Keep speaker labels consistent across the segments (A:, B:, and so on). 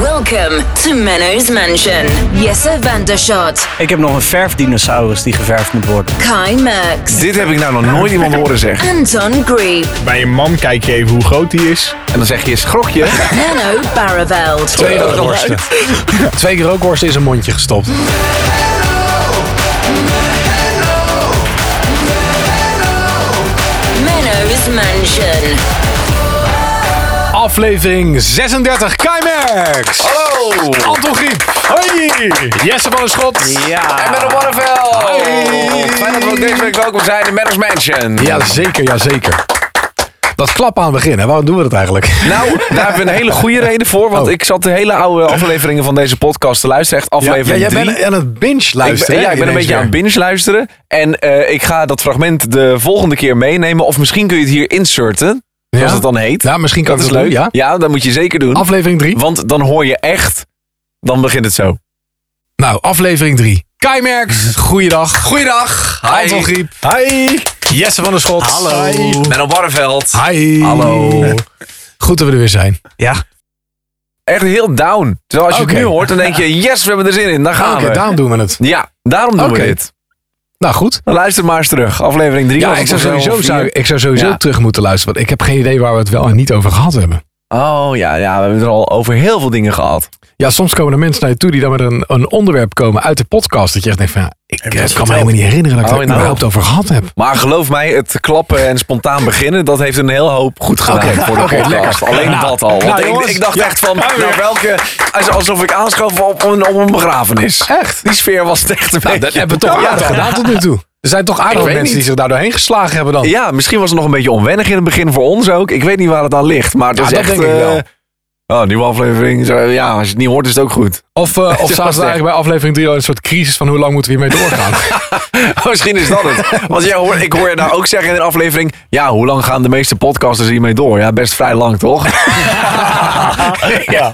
A: Welcome to Menno's Mansion. Jesse Vandershot,
B: Ik heb nog een verfdinosaurus die geverfd moet worden.
A: Kai Merks,
C: Dit heb ik nou nog nooit iemand horen zeggen.
A: Anton Grieb,
D: Bij je man kijk je even hoe groot die is.
C: En dan zeg je schrokje.
A: Menno Barreveld.
E: Twee rookworsten. Twee keer rookworsten in zijn mondje gestopt.
A: Menno's Mansion.
E: Aflevering 36. Kymax.
C: Hallo.
E: Anton Griep. Hoi. Jesse van der Schot.
C: En met een Barneveld. Fijn dat we ook deze week welkom zijn in Meadows Mansion.
E: Ja, zeker. Ja, zeker. Dat klap aan het begin. Hè? Waarom doen we dat eigenlijk?
C: Nou, daar hebben we een hele goede reden voor. Want
E: Oh.
C: ik zat de hele oude afleveringen van deze podcast te luisteren. Echt aflevering
E: ja, jij
C: 3.
E: bent aan het binge
C: Ik
E: luisteren.
C: ben, ja,
E: hè,
C: ik ben een
E: ineens
C: beetje aan het
E: weer.
C: binge luisteren. En eh, ik ga dat fragment de volgende keer meenemen. Of misschien kun je het hier inserten. Zoals
E: Ja?
C: het dan heet.
E: Ja, misschien kan
C: dat is
E: ik dat
C: leuk.
E: doen, ja.
C: dat moet je zeker doen.
E: Aflevering 3.
C: Want dan hoor je echt. Dan begint het zo.
E: Nou, aflevering 3. Kymax. Goeiedag.
C: Goeiedag.
E: Anton Griep.
D: Hi!
E: Jesse van der Schot. Hallo.
C: Menno Barreveld.
E: Hi.
C: Hallo.
E: Goed dat we er weer zijn.
B: Ja.
C: Echt heel down. Terwijl als je
E: Oké.
C: het nu hoort, dan denk je: yes, we hebben er zin in. Daar gaan
E: Oké,
C: we.
E: daarom doen we het.
C: Ja, daarom doen
E: Oké.
C: we dit.
E: Nou, goed.
C: Dan luister maar eens terug. Aflevering 3.
E: Ja, ik zou sowieso, zou, ik zou sowieso
C: Ja.
E: terug moeten luisteren. Want ik heb geen idee waar we het wel en niet over gehad hebben.
C: Oh ja, ja, we hebben het er al over heel veel dingen gehad.
E: Ja, soms komen er mensen naar je toe die dan met een, een onderwerp komen uit de podcast. Dat je echt denkt van, ja, ik eh, kan me helemaal niet herinneren dat
C: Oh,
E: ik daar
C: inderdaad.
E: überhaupt over gehad heb.
C: Maar geloof mij, het klappen en spontaan beginnen, dat heeft een heel hoop goed gedaan
E: Oké,
C: voor de
E: oké,
C: podcast.
E: lekker.
C: Alleen
E: Nou,
C: dat al. Want
E: nou,
C: ik- ik,
E: jongens,
C: dacht
E: ja,
C: echt van,
E: gaan we
C: nou,
E: weer.
C: welke, als- alsof ik aanschoof op een, op een begrafenis.
E: Echt?
C: Die sfeer was het echt een
E: Nou, dat
C: beetje-
E: hebben we toch
C: ja,
E: aardig
C: ja.
E: gedaan tot nu toe. Er zijn toch aardig
C: Ik
E: wat
C: weet
E: mensen die
C: niet.
E: zich daar doorheen geslagen hebben dan.
C: Ja, misschien was het nog een beetje onwennig in het begin voor ons ook. Ik weet niet waar het aan ligt, maar het
E: Ja,
C: is
E: dat
C: echt...
E: denk ik
C: eh,
E: wel.
C: Oh, nieuwe aflevering. Zo, Ja, als je het niet hoort is het ook goed.
E: Of, eh, of
C: was
E: zaten we
C: echt-
E: eigenlijk bij aflevering 3 al in een soort crisis van hoe lang moeten we hiermee doorgaan.
C: Oh, Misschien is dat het. Want jij hoort, ik hoor je nou ook zeggen in een aflevering... Ja, hoe lang gaan de meeste podcasters hiermee door? Ja, best vrij lang, toch? ja.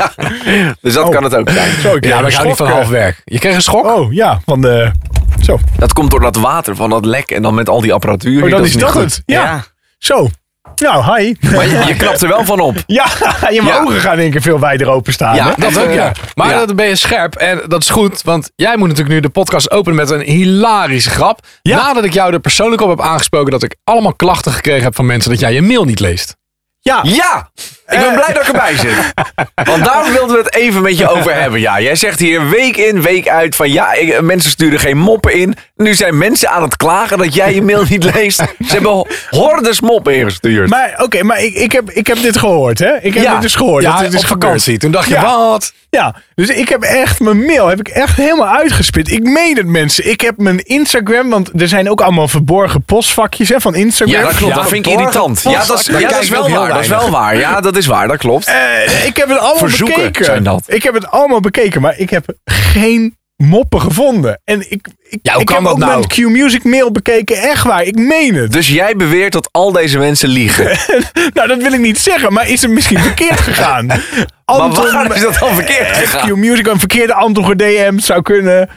C: Dus dat kan het ook zijn.
D: Oh. Zo, ik
E: ja, maar
D: kreeg een
E: ik hou niet van
D: schok,
E: half werk. Je kreeg een schok?
D: eh. Oh ja, van de. Zo.
C: Dat komt door dat water van dat lek en dan met al die apparatuur.
D: Oh,
C: hier,
D: dan is
C: niet
D: dat
C: goed.
D: het. Ja. Zo. Nou, hi.
C: Maar je, je knapt er wel van op.
D: Ja, je
C: Ja.
D: ogen gaan in één keer veel wijder openstaan.
C: Ja,
D: hè?
E: Dat ook, ja. Maar
C: Ja.
E: dan ben je scherp en dat is goed, want jij moet natuurlijk nu de podcast openen met een hilarische grap.
D: Ja.
E: Nadat ik jou er persoonlijk op heb aangesproken dat ik allemaal klachten gekregen heb van mensen dat jij je mail niet leest.
D: ja.
C: Ja, ik
D: Eh.
C: ben blij dat ik erbij zit. Want daar wilden we het even met je over hebben. Ja, jij zegt hier week in, week uit van ja, ik- mensen sturen geen moppen in. Nu zijn mensen aan het klagen dat jij je mail niet leest. Ze hebben ho- hordes moppen ingestuurd.
D: Maar oké, maar ik, ik, heb, ik heb dit gehoord, hè? Ik heb
C: Ja.
D: dit dus gehoord. dat
E: Ja,
D: dit
E: op
D: is gebeurd.
E: vakantie. Toen dacht je,
D: Ja.
E: wat?
D: Ja, dus ik heb echt mijn mail heb ik echt helemaal uitgespit. Ik meen het mensen. Ik heb mijn Instagram, want er zijn ook allemaal verborgen postvakjes hè, van Instagram.
C: ja, dat klopt. dat vind ik irritant. Ja, dat is, ja, dat is wel waar. Dat is wel waar. Ja, dat is waar. Dat klopt.
D: Eh, ik heb het allemaal
C: Verzoeken
D: bekeken.
C: zijn dat.
D: Ik heb het allemaal bekeken, maar ik heb geen moppen gevonden. En ik, ik,
E: Ja, hoe
D: ik
E: kan
D: heb
E: dat
D: ook
E: nou?
D: mijn Q-Music mail bekeken. Echt waar, ik meen het.
C: Dus jij beweert dat al deze mensen liegen.
D: Nou, dat wil ik niet zeggen, maar is het misschien verkeerd gegaan?
C: Maar waar is dat dan verkeerd
D: Eh,
C: gegaan?
D: Q-Music een verkeerde Anton gedm zou kunnen...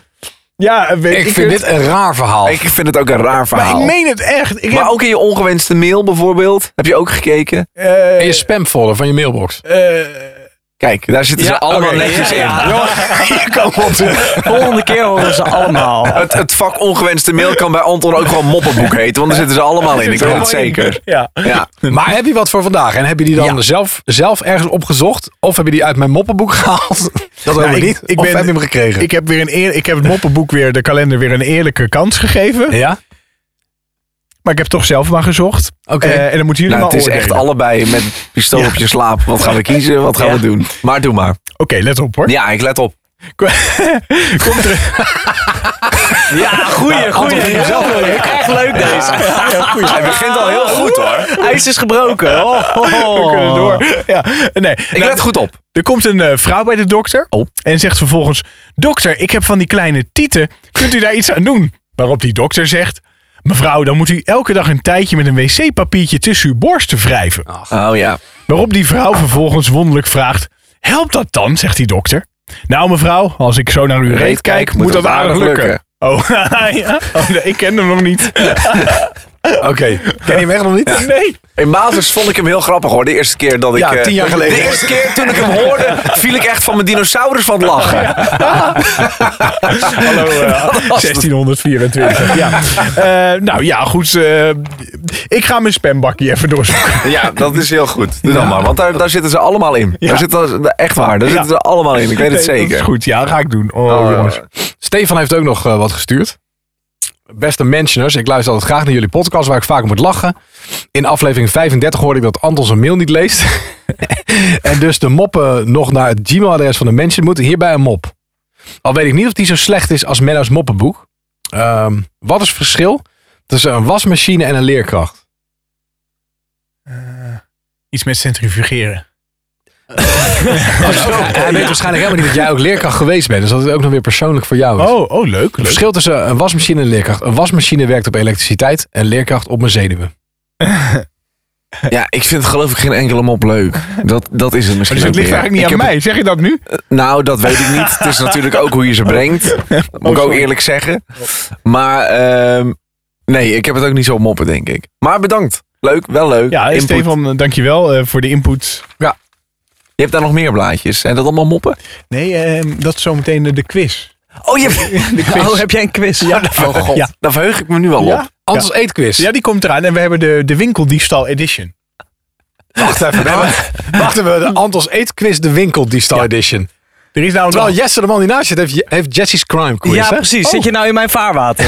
D: Ja, weet
E: Ik
D: ik
E: vind
D: het.
E: dit een raar verhaal.
C: Ik vind het ook een raar
D: Maar
C: verhaal.
D: ik meen het echt. Ik
C: Maar
D: heb,
C: ook in je ongewenste mail bijvoorbeeld. Heb je ook gekeken?
D: eh,
E: In je spamfolder van je mailbox.
D: eh,
C: Kijk, daar zitten ze allemaal
D: oké.
C: netjes in.
D: je kan wel terug.
B: Volgende keer horen ze allemaal.
C: Het, het vak ongewenste mail kan bij Anton ook gewoon moppenboek heten. Want daar zitten ze allemaal in. Ik weet het zeker.
D: Ja.
C: Ja.
E: Maar heb je wat voor vandaag? En heb je die dan
C: Ja.
E: zelf, zelf ergens opgezocht? Of heb je die uit mijn moppenboek gehaald? Dat
D: Nou,
E: helemaal
D: ik-
E: niet.
D: ik
E: of
D: ben-
E: heb je hem gekregen?
D: Ik heb, weer een eer, ik heb het moppenboek weer, de kalender, weer een eerlijke kans gegeven.
E: ja?
D: Maar ik heb toch zelf maar gezocht.
E: Oké.
D: Eh, en dan moeten jullie
C: Nou,
D: maar
C: het is echt
D: oordelen.
C: allebei met pistool op je slaap. Wat gaan we kiezen? Wat gaan we doen? Maar doe maar.
D: Oké, let op hoor.
C: Ja, ik let op.
D: Komt er...
B: Ja, goeie, goeie. Echt leuk deze.
C: Hij begint al heel goed hoor.
B: IJs is gebroken. Oh,
D: We kunnen door. Ja, nee.
C: Ik
D: Nou,
C: let goed op.
D: Er komt een eh, vrouw bij de dokter.
C: Oh.
D: En zegt vervolgens: Dokter, ik heb van die kleine tieten. Kunt u daar iets aan doen? Waarop die dokter zegt: Mevrouw, dan moet u elke dag een tijdje met een wc-papiertje tussen uw borsten wrijven.
C: Oh ja.
D: Waarop die vrouw vervolgens wonderlijk vraagt: Helpt dat dan? zegt die dokter. Nou, mevrouw, als ik zo naar uw reet kijk, moet dat aardig lukken. Oh, ja? oh nee, ik ken hem nog niet.
E: Oké. Ken je hem echt nog niet?
D: Nee.
C: In Matus vond ik hem heel grappig hoor. De eerste keer dat ik.
E: Ja,
C: eh,
E: tien jaar geleden.
C: De eerste keer toen ik hem hoorde, viel ik echt van mijn dinosaurus van het lachen.
D: Hallo, eh, 1624. Ja. Eh, nou ja, goed. eh, ik ga mijn spambakje even doorzoeken.
C: Ja, dat is heel goed. Doe dan maar, want daar, daar zitten ze allemaal in. Daar zitten, echt waar, daar
D: Ja.
C: zitten ze allemaal in. Oh, Ik weet het
D: Nee,
C: zeker.
D: Dat is goed, ja, dat ga ik doen. Oh,
C: Oh,
D: jongens.
E: Stefan heeft ook nog eh, wat gestuurd. Beste mentioners, ik luister altijd graag naar jullie podcast waar ik vaak om moet lachen. In aflevering 35 hoorde ik dat Anton zijn mail niet leest. en dus de moppen nog naar het Gmail-adres van de mensen moeten. Hierbij een mop. Al weet ik niet of die zo slecht is als Menno's moppenboek. Ehm, wat is het verschil tussen een wasmachine en een leerkracht?
D: Iets met centrifugeren.
E: Hij weet waarschijnlijk helemaal niet dat jij ook leerkracht geweest bent. Dus dat is ook nog weer persoonlijk voor jou. is.
D: Oh, oh leuk.
E: Het
D: leuk.
E: verschil tussen een wasmachine en een leerkracht. Een wasmachine werkt op elektriciteit en leerkracht op een zenuwen.
C: Ja, ik vind geloof ik geen enkele mop leuk. Dat, dat is het misschien
D: Dus
C: ook
D: het ligt
C: weer.
D: eigenlijk niet
C: Ik
D: aan
C: heb-
D: mij. Zeg je dat nu?
C: Nou, dat weet ik niet. Het is natuurlijk ook hoe je ze brengt. Moet ik ook
D: sorry.
C: eerlijk zeggen. Maar ehm, nee, ik heb het ook niet zo op moppen, denk ik. Maar bedankt. Leuk, wel leuk.
D: Ja,
C: Input.
D: Stefan, eh, dankjewel eh, voor de input.
C: Je hebt daar nog meer blaadjes. Zijn dat allemaal moppen?
D: Nee, eh, dat is zometeen de, de quiz.
C: Oh, je hebt...
D: De quiz.
B: Oh, heb jij een quiz?
C: Ja, daar, oh god.
D: Ja.
C: daar verheug ik me nu al op.
D: ja?
E: Anders eetquiz.
D: ja, die komt eraan. En we hebben de, de winkeldiefstal edition.
E: Wacht even. we hebben- Wachten we, de Antos Eetquiz de Winkel die Star Edition.
D: Er is nou
E: Terwijl Jesse de man die naast zit heeft, Je- heeft Jesse's Crime Quiz.
B: Ja,
E: hè?
B: precies.
E: Oh,
B: Zit je nou in mijn vaarwater?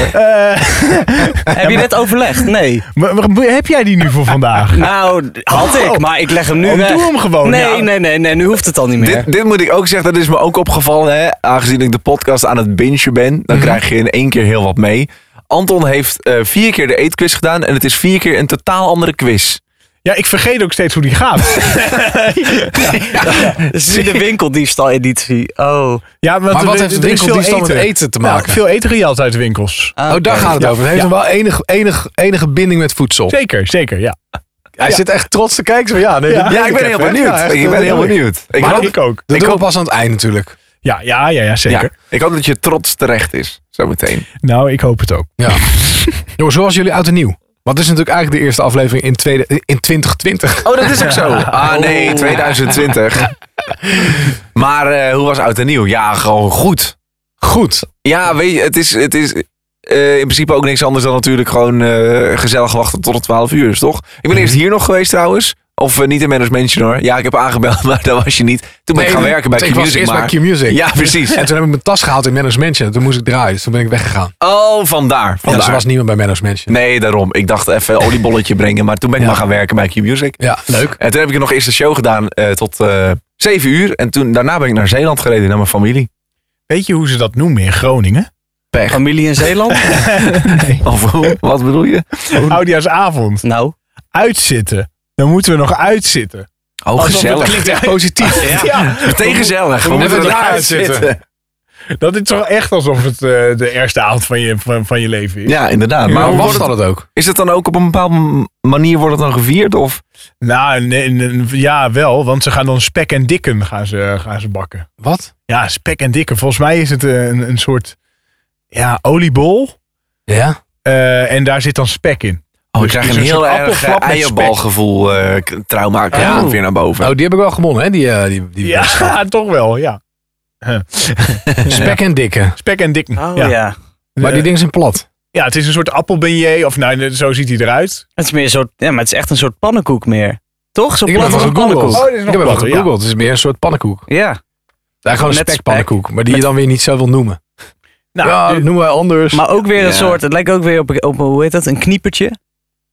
B: Heb je dit overlegd? Nee.
D: Maar- maar heb jij die nu voor vandaag?
B: Nou, had ik, maar ik leg hem nu
D: Oh,
B: weg.
D: doe hem gewoon,
B: Nee,
D: ja.
B: nee, nee, nee. Nu hoeft het al niet meer.
C: Dit, dit moet ik ook zeggen, dat is me ook opgevallen. Hè? Aangezien ik de podcast aan het bingen ben, dan
E: Mhm.
C: krijg je in één keer heel wat mee. Anton heeft eh, vier keer de eetquiz gedaan en het is vier keer een totaal andere quiz.
D: Ja, ik vergeet ook steeds hoe die gaat.
B: Dit is nu de winkeldiefstal-editie. Oh.
D: Ja, want
E: Maar wat
D: er-
E: heeft de
D: er is veel
E: winkeldiefstal met eten te
D: Nou,
E: maken?
D: veel eten gejat uit de winkels.
E: Oh, daar gaat het over. Het heeft
D: Ja.
E: hem wel enig, enig, enige binding met voedsel.
D: Zeker, zeker, ja.
E: Hij zit echt trots te kijken. Zo, ja, nee,
D: Ja.
E: dat weet
C: Ja, ik ben
E: even,
C: heel
E: hè.
C: benieuwd.
E: Ja, echt,
C: ik
E: dat
C: ben heel
E: wil Ah, ik.
C: benieuwd. Ik
D: Maar
C: hoop,
D: ik ook.
E: Dat
C: Ik
E: doen we
C: ook.
E: pas aan het eind natuurlijk.
D: Ja, ja, ja, ja
C: ja,
D: zeker.
C: ik hoop dat je trots terecht is, zometeen.
D: Nou, ik hoop het ook.
E: Ja. Jongens, zoals jullie oud en nieuw. Want dit is natuurlijk eigenlijk de eerste aflevering in, tweede, in 2020.
C: Oh, dat is ook zo. Ah
E: Oh.
C: nee, 2020. Maar eh, hoe was oud en nieuw? Ja, gewoon goed.
E: Goed.
C: Ja, weet je, het is, het is eh, in principe ook niks anders dan natuurlijk gewoon eh, gezellig wachten tot het 12 uur is, toch? Ik ben
E: Mhm.
C: eerst hier nog geweest trouwens. Of eh, niet in Manners Mansion hoor. Ja, ik heb aangebeld, maar daar was je niet. Toen ben ik gaan werken bij
E: Ik was
C: Q-Music
E: eerst bij
C: maar.
E: Q-Music.
C: Ja, precies.
E: En toen heb ik mijn tas gehaald in Menno's Mansion. Toen moest ik draaien. Dus toen ben ik weggegaan.
C: Oh, vandaar.
E: Ja, dus
C: vandaar.
E: er was niemand bij Menno's Mansion.
C: Nee, daarom. Ik dacht even oliebolletje brengen, maar toen ben ik
E: Ja.
C: maar gaan werken bij Q-Music.
E: Ja, leuk.
C: En toen heb ik nog eerst een show gedaan eh, tot eh 7 uur. En toen, daarna ben ik naar Zeeland gereden, naar mijn familie.
D: Weet je hoe ze dat noemen in Groningen?
B: Familie in Zeeland?
C: Of hoe? wat bedoel je?
D: Oudjaarsavond.
B: nou.
D: Uitzitten. Dan moeten we nog uitzitten.
C: Oh,
D: Alsof het
C: gezellig.
D: klinkt echt positief. ja.
C: Meteen gezellig. We
E: moeten
C: moeten
E: er
C: eruit
E: eruit zitten.
C: zitten.
D: Dat is toch echt alsof het eh, de eerste avond van je, van, van je leven is.
C: Ja, inderdaad.
E: Maar
C: Maar
E: hoe
C: wordt
E: was
C: het,
E: dat het ook?
C: is het dan ook op een bepaalde manier wordt het dan gevierd? Of?
D: Nou, nee, nee, ja, wel. Want ze gaan dan spek en dikken gaan ze, gaan ze bakken.
E: Wat?
D: Ja, spek en dikke. Volgens mij is het eh, een, een soort ja, oliebol.
E: Ja.
D: eh, en daar zit dan spek in.
C: Oh, ik
D: Dus
C: krijg
D: het
C: een
D: is een
C: heel
D: soort
C: erg eh,
D: appelflap met
C: eierbalgevoel eh, k- trauma krijg
E: Oh.
C: ik weer naar boven.
E: Oh, die heb ik wel gewonnen, hè? Die, eh, die, die
D: Ja, toch wel, ja.
E: Spek en dikke.
D: Spek en dikken.
B: Oh ja.
D: ja.
E: Maar
D: Eh,
E: die dingen zijn plat.
D: ja, het is een soort appelbeignet. Of nou, zo ziet hij eruit.
B: Het is meer een soort. Ja, maar het is echt een soort pannenkoek meer. Toch? Zo'n
E: Ik heb
B: plat
E: even
B: als een pannenkoek.
E: gegoogeld.
D: Oh, dit is nog
E: ik heb even
D: platter, ja.
E: gegoogeld. Het is meer een soort pannenkoek.
B: Ja.
E: Ja, gewoon een
B: Met
E: spekpannenkoek. Maar die je dan weer niet zo wil noemen.
D: Nou,
E: ja, dat
D: dit-
E: noemen wij anders.
B: Maar ook weer een
C: Ja.
B: soort. Het lijkt ook weer op, op hoe heet dat? Een kniepertje.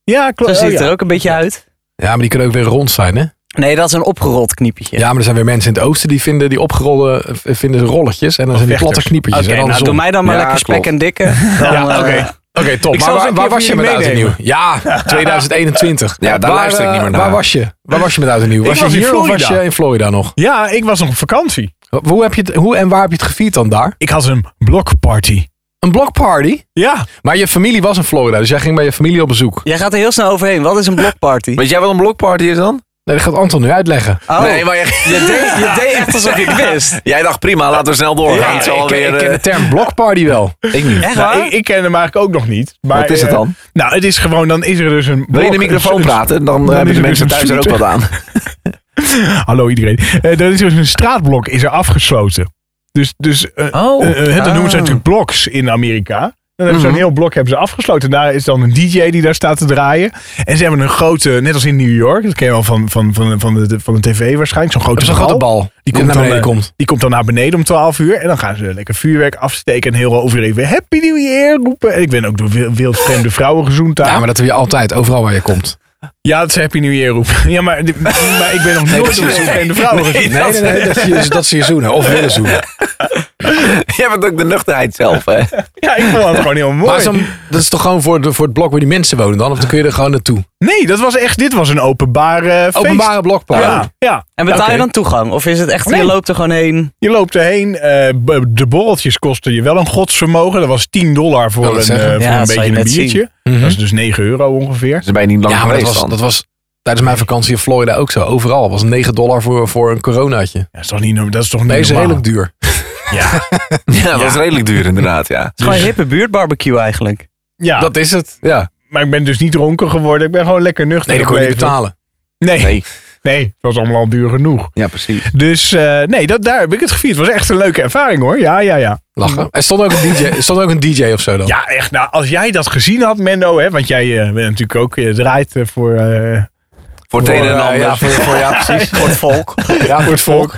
D: ja
B: Zo
D: klopt.
B: ziet
D: Oh,
B: het
D: ja.
B: er ook een beetje uit.
E: ja, maar die kunnen ook weer rond zijn, hè? Ja.
B: Nee, dat is een opgerold kniepertje.
E: maar er zijn weer mensen in het oosten die vinden die opgerolde eh, vinden ze rolletjes. En dan zijn die platte
D: vechters.
E: kniepertjes.
B: Oké,
E: en
B: nou
E: andersom.
B: doe mij dan maar
C: Ja,
B: lekker spek
C: klopt.
B: en dikke. Dan,
D: Ja,
B: eh,
D: oké.
E: Oké, top.
D: Ik
E: Maar
D: zal
E: waar,
D: eens een
E: waar
D: keer
E: was je
D: voor
E: met
D: jullie
E: Oud en Nieuw?
D: meenemen.
E: Ja, 2021.
C: Ja, daar
E: waar,
C: luister ik niet meer
E: eh,
C: naar.
E: Waar was je? Waar was je met Oud en Nieuw? Was
D: was
E: je
D: in
E: hier of was
D: Florida.
E: je in Florida nog?
D: ja, ik was nog op vakantie.
E: Hoe, heb je het, hoe en waar heb je het gevierd dan daar?
D: Ik had een blokparty.
E: Een blokparty?
D: Ja,
E: Maar je familie was in Florida, dus jij ging bij je familie op bezoek.
B: Jij gaat er heel snel overheen. Wat is een blokparty?
C: Weet jij wat een blokparty is dan?
E: Nee, dat gaat Anton nu uitleggen.
B: Oh,
C: Nee, maar je-
B: je, deed, je deed echt alsof ik wist.
C: jij dacht prima, laten we snel doorgaan. het zal
E: ik,
C: alweer,
E: ik ken
C: eh,
E: de term blockparty wel.
C: ik niet.
B: Echt
D: Nou,
B: waar?
D: ik, ik ken hem eigenlijk ook nog niet. Maar,
C: Wat is het
D: eh,
C: dan?
D: nou, het is gewoon, dan is er dus een...
C: Wil je in
D: blok,
C: de microfoon
D: een- een-
C: praten? Dan, eh,
D: dan
C: hebben
D: is
C: de
D: er
C: mensen
D: dus een
C: thuis er ook wat
D: shooter.
C: aan.
E: eh,
D: Hallo iedereen. Eh er is dus een straatblok is er afgesloten. Dus, dus eh,
B: Oh.
D: eh, eh, dat noemen ze
B: Ah.
D: natuurlijk bloks in Amerika. Dan hebben ze
C: Mhm.
D: zo'n heel blok hebben ze afgesloten. Daar is dan een DJ die daar staat te draaien. En ze hebben een grote, net als in New York, dat ken je wel van, van, van, van, de, van de tv waarschijnlijk, zo'n grote,
E: Zo'n grote bal die
D: Die komt,
E: naar
D: dan,
E: beneden
D: eh,
E: komt.
D: die komt dan naar beneden om 12 uur. En dan gaan ze lekker vuurwerk afsteken. En heel over even Happy New Year roepen. En ik ben ook door wil- wildvreemde vrouwen gezoend daar.
E: Ja, maar dat doe je altijd, overal waar je komt.
D: Ja, dat is Happy New Year roepen. Ja, maar, maar ik ben nog nooit door wildvreemde vrouwen gezoend.
E: Nee, nee, nee, dat, is- dat ze je zoenen of willen zoenen.
C: Jij bent ook de nuchterheid zelf, hè?
D: Ja, ik vond dat gewoon heel mooi.
E: Maar zo'n- dat is toch gewoon voor, de, voor het blok waar die mensen wonen dan? Of dan kun je er gewoon naartoe?
D: Nee, dat was echt, dit was een openbaar eh, feest.
E: Openbare blokparty.
D: Ja, ja.
B: En betaal
D: Oké.
B: je dan toegang? Of is het echt,
D: Nee.
B: je loopt er gewoon heen?
D: Je loopt erheen. eh, b- de borreltjes kosten je wel een godsvermogen. Dat was 10 dollar voor
E: Wil dat
D: een, eh,
E: zeggen?
D: voor
B: Ja,
D: een
B: dat zou je
D: beetje een
B: net zien.
D: biertje.
E: Mhm.
D: Dat is dus 9 euro ongeveer.
C: Ze zijn niet lang
E: Ja, maar dat
C: geweest
E: was,
C: dan.
E: dat was tijdens mijn vakantie in Florida ook zo. Overal was 9 dollar voor, voor een coronaatje.
D: Ja, dat is toch niet, no- dat is toch niet
E: Nee, is
D: normaal?
E: redelijk duur.
D: Ja,
C: Ja, dat was redelijk duur inderdaad, ja.
B: Het is gewoon een hippe buurtbarbecue eigenlijk.
D: ja
E: Dat is het. Ja.
D: maar ik ben dus niet dronken geworden. Ik ben gewoon lekker nuchter
E: Nee, dat kon je niet
D: gebleven.
E: betalen.
D: Nee, nee.
C: Nee,
D: het was allemaal al duur genoeg.
C: ja precies.
D: Dus eh, nee, dat, daar heb ik het gevierd. Het was echt een leuke ervaring hoor. Ja, ja, ja.
E: Lachen. Er stond ook een DJ, er stond ook een DJ of zo dan.
D: Ja, echt. Nou, als jij dat gezien had, Mendo, hè, want jij eh, bent natuurlijk ook eh, draait eh, voor, eh,
C: Voor het
E: Voor,
C: een
E: eh,
C: en ander.
E: ja, voor, voor, ja, precies.
B: Voor het volk.
E: Ja, voor het volk.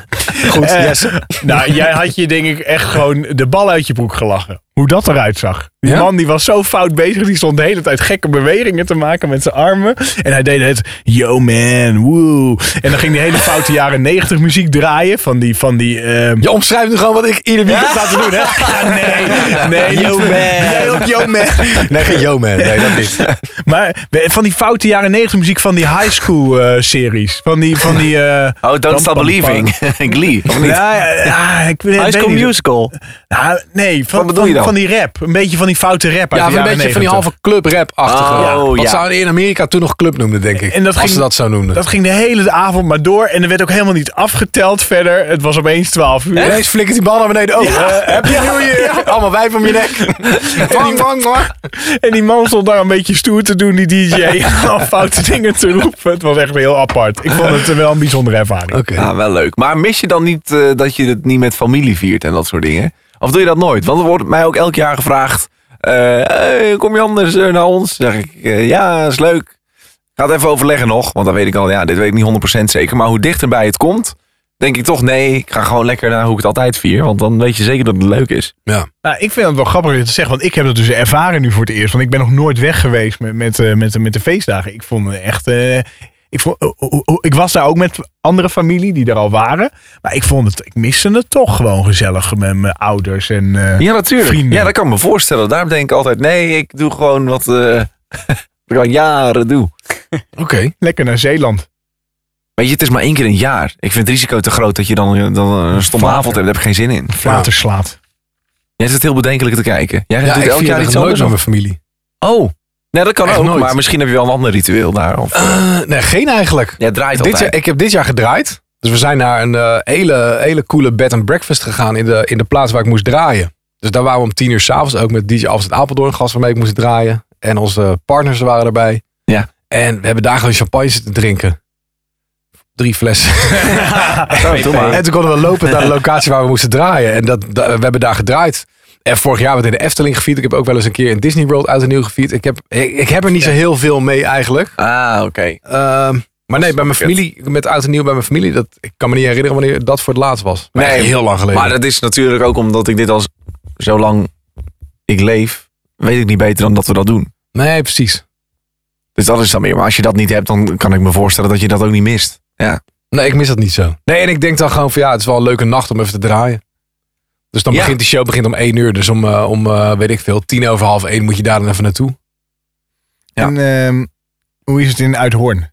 E: Goed,
D: Eh,
E: yes.
D: Nou, jij had je denk ik echt gewoon de bal uit je broek gelachen. Hoe dat eruit zag. Die
E: Ja?
D: man die was zo fout bezig. Die stond de hele tijd gekke bewegingen te maken met zijn armen. En hij deed het. Yo man, woe. En dan ging die hele foute jaren negentig muziek draaien. Van die, van die... ehm,
E: Je omschrijft nu gewoon wat ik ieder weekend sta te doen, hè?
D: Ah, nee, nee.
B: Yo,
D: niet-
B: man.
D: Nee, ook yo man.
E: Nee, geen yo man. Nee, dat niet.
D: Maar van die foute jaren negentig muziek van die high school eh, series. Van die... Van die eh,
C: Oh, Don't Stop
D: pam,
C: Believing. Glee, of niet?
D: ja, ja, ja, ik weet-
B: High
D: weet
B: School
D: niet.
B: Musical.
D: Nou, nee, van,
C: Wat bedoel
D: van,
C: je dan?
D: van die rap. Een beetje van die foute rap uit
E: Ja,
D: de
E: van een
D: jaren
E: beetje van die
D: 90.
E: halve club rap achtige
C: Oh,
E: ja. Wat
C: ja.
E: zouden in Amerika toen nog club noemden, denk ik.
D: En dat
E: als
D: ging-
E: ze dat zo noemden.
D: Dat ging de hele avond maar door. En er werd ook helemaal niet afgeteld verder. Het was opeens 12 uur.
E: Ineens flikkert die bal naar beneden. Oh, eh, heb je nieuw hier? Allemaal wijf om je nek. Wang, wang, wang.
D: En die man stond daar een beetje stoer te doen, die DJ. Al foute dingen te roepen. Het was echt heel apart. Ik vond het eh, wel een bijzondere ervaring.
E: Oké.
C: Ja, Ah, wel leuk. Maar mis je dan niet eh, dat je het niet met familie viert en dat soort dingen? Of doe je dat nooit? Want er wordt mij ook elk jaar gevraagd: eh, hey, kom je anders eh, naar ons? Zeg ik: eh, ja, is leuk. Ik ga het even overleggen nog, want dan weet ik al, ja, dit weet ik niet 100% zeker. Maar hoe dichterbij het komt, denk ik toch: nee, ik ga gewoon lekker naar hoe ik het altijd vier. Want dan weet je zeker dat het leuk is.
D: Nou, ik vind het wel grappig om te zeggen, want ik heb dat dus ervaren nu voor het eerst. Want ik ben nog nooit weg geweest met, met, eh, met, de- met de feestdagen. Ik vond het echt. eh, ik, vond, oh, oh, oh, ik was daar ook met andere familie die er al waren. Maar ik vond het, ik miste het toch gewoon gezellig met mijn ouders. En, eh,
C: Ja, natuurlijk.
D: Vrienden.
C: Ja, dat kan ik me voorstellen. Daarom denk ik altijd: nee, ik doe gewoon wat. eh, wat ik al jaren doe.
E: Oké.
D: lekker naar Zeeland.
C: Weet je, het is maar één keer een jaar. Ik vind het risico te groot dat je dan, eh, dan een stomme avond hebt. Daar heb ik geen zin in.
D: Flater slaat.
C: Jij zit heel bedenkelijk te kijken. Jij
E: Ja,
C: doet
E: ik
C: elk
E: vier
C: jaar
E: dat
C: iets
E: nooit
C: anders.
E: met mijn familie.
C: Oh, nee, dat kan
E: Echt
C: ook.
E: nooit.
C: Maar misschien heb je wel een ander ritueel daar. Of,
E: Eh, nee, geen eigenlijk.
C: ja, het draait
E: Dit jaar,
C: altijd.
E: ik heb dit jaar gedraaid. Dus we zijn naar een eh, hele, hele coole bed and breakfast gegaan in de, in de plaats waar ik moest draaien. Dus daar waren we om tien uur s'avonds ook met DJ Alfred Apeldoorn, gast waarmee ik moest draaien. En onze partners waren erbij.
C: Ja.
E: En we hebben daar gewoon champagne zitten drinken. Drie flessen.
C: Zo, doe maar.
E: En toen konden we lopen naar de locatie waar we moesten draaien. En dat, da- we hebben daar gedraaid. En vorig jaar werd in de Efteling gefiet. Ik heb ook wel eens een keer in Disney World uit en nieuw gefiet. Ik heb, ik, ik heb er niet zo heel veel mee eigenlijk.
C: Ah, oké.
E: Ehm, maar nee, bij mijn familie, met oud en nieuw bij mijn familie, dat, ik kan me niet herinneren wanneer dat voor het laatst was. Maar
C: Nee,
E: echt heel lang geleden.
C: Maar dat is natuurlijk ook omdat ik dit al zo lang ik leef, weet ik niet beter dan dat we dat doen.
E: Nee, precies.
C: Dus dat is dan meer. Maar als je dat niet hebt, dan kan ik me voorstellen dat je dat ook niet mist. Ja.
E: Nee, ik mis dat niet zo. Nee, en ik denk dan gewoon van ja, het is wel een leuke nacht om even te draaien. Dus dan
C: Ja.
E: begint die show begint om één uur. Dus om, eh, om eh, weet ik veel, tien over half één moet je daar dan even naartoe.
C: Ja.
D: En ehm, hoe is het in Uithoorn?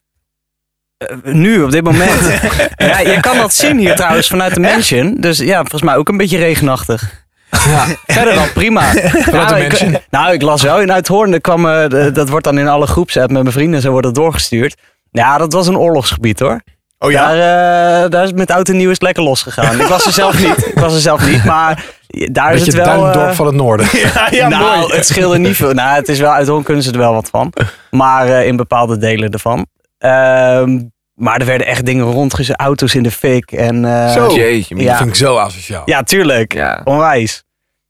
B: Nu, op dit moment. ja, je kan dat zien hier trouwens vanuit de mansion. Dus ja, volgens mij ook een beetje regenachtig.
E: Ja.
B: Verder dan prima.
E: de
B: nou,
E: mansion.
B: ik, nou, ik las wel in Uithoorn. er kwam, eh, de- dat wordt dan in alle groepsapp met mijn vrienden. Zo wordt dat doorgestuurd. Ja, dat was een oorlogsgebied hoor.
D: Oh ja?
B: Daar, eh, daar is met oud en nieuw is het lekker losgegaan. Ik was er zelf niet. Ik was er zelf niet, maar daar is
E: Beetje
B: het
E: het
B: wel...
E: Duindorp
B: eh,
E: van het noorden.
D: ja, Ah, ja,
B: nou,
D: mooi.
B: het scheelde niet veel. Nou, het is wel, uit Hong kunnen ze er wel wat van. Maar eh, in bepaalde delen ervan. Ehm, maar er werden echt dingen rondgezet. Auto's in de fik. En, eh,
C: Jeetje,
E: Dat
B: ja.
E: vind ik zo asociaal.
B: ja, tuurlijk.
C: Ja.
B: Onwijs.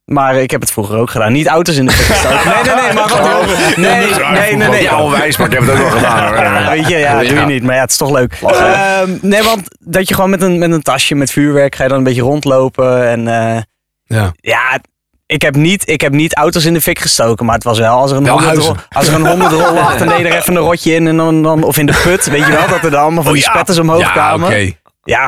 B: Maar ik heb het vroeger ook gedaan. Niet auto's in de fik gestoken. Nee, nee, nee. Maar wat
D: Oh,
B: Nee, nee, nee. nee,
C: Ja, onwijs, maar ik heb het ook wel gedaan. hoor.
B: Ja, weet je, ja, doe je niet. Maar ja, het is toch leuk. Ehm, nee, want dat je gewoon met een, met een tasje met vuurwerk ga je dan een beetje rondlopen. En eh,
E: Ja.
B: ja, ik heb, niet, ik heb niet auto's in de fik gestoken. Maar het was wel als er een
E: Wel
B: honderd
E: huizen.
B: rol, als er een honderd rol lag, dan deed er even een rotje in. En dan, dan, of in de put, weet je wel, dat er dan allemaal van die spetters omhoog
E: Oh Ja, oké.
B: kwamen. Ja,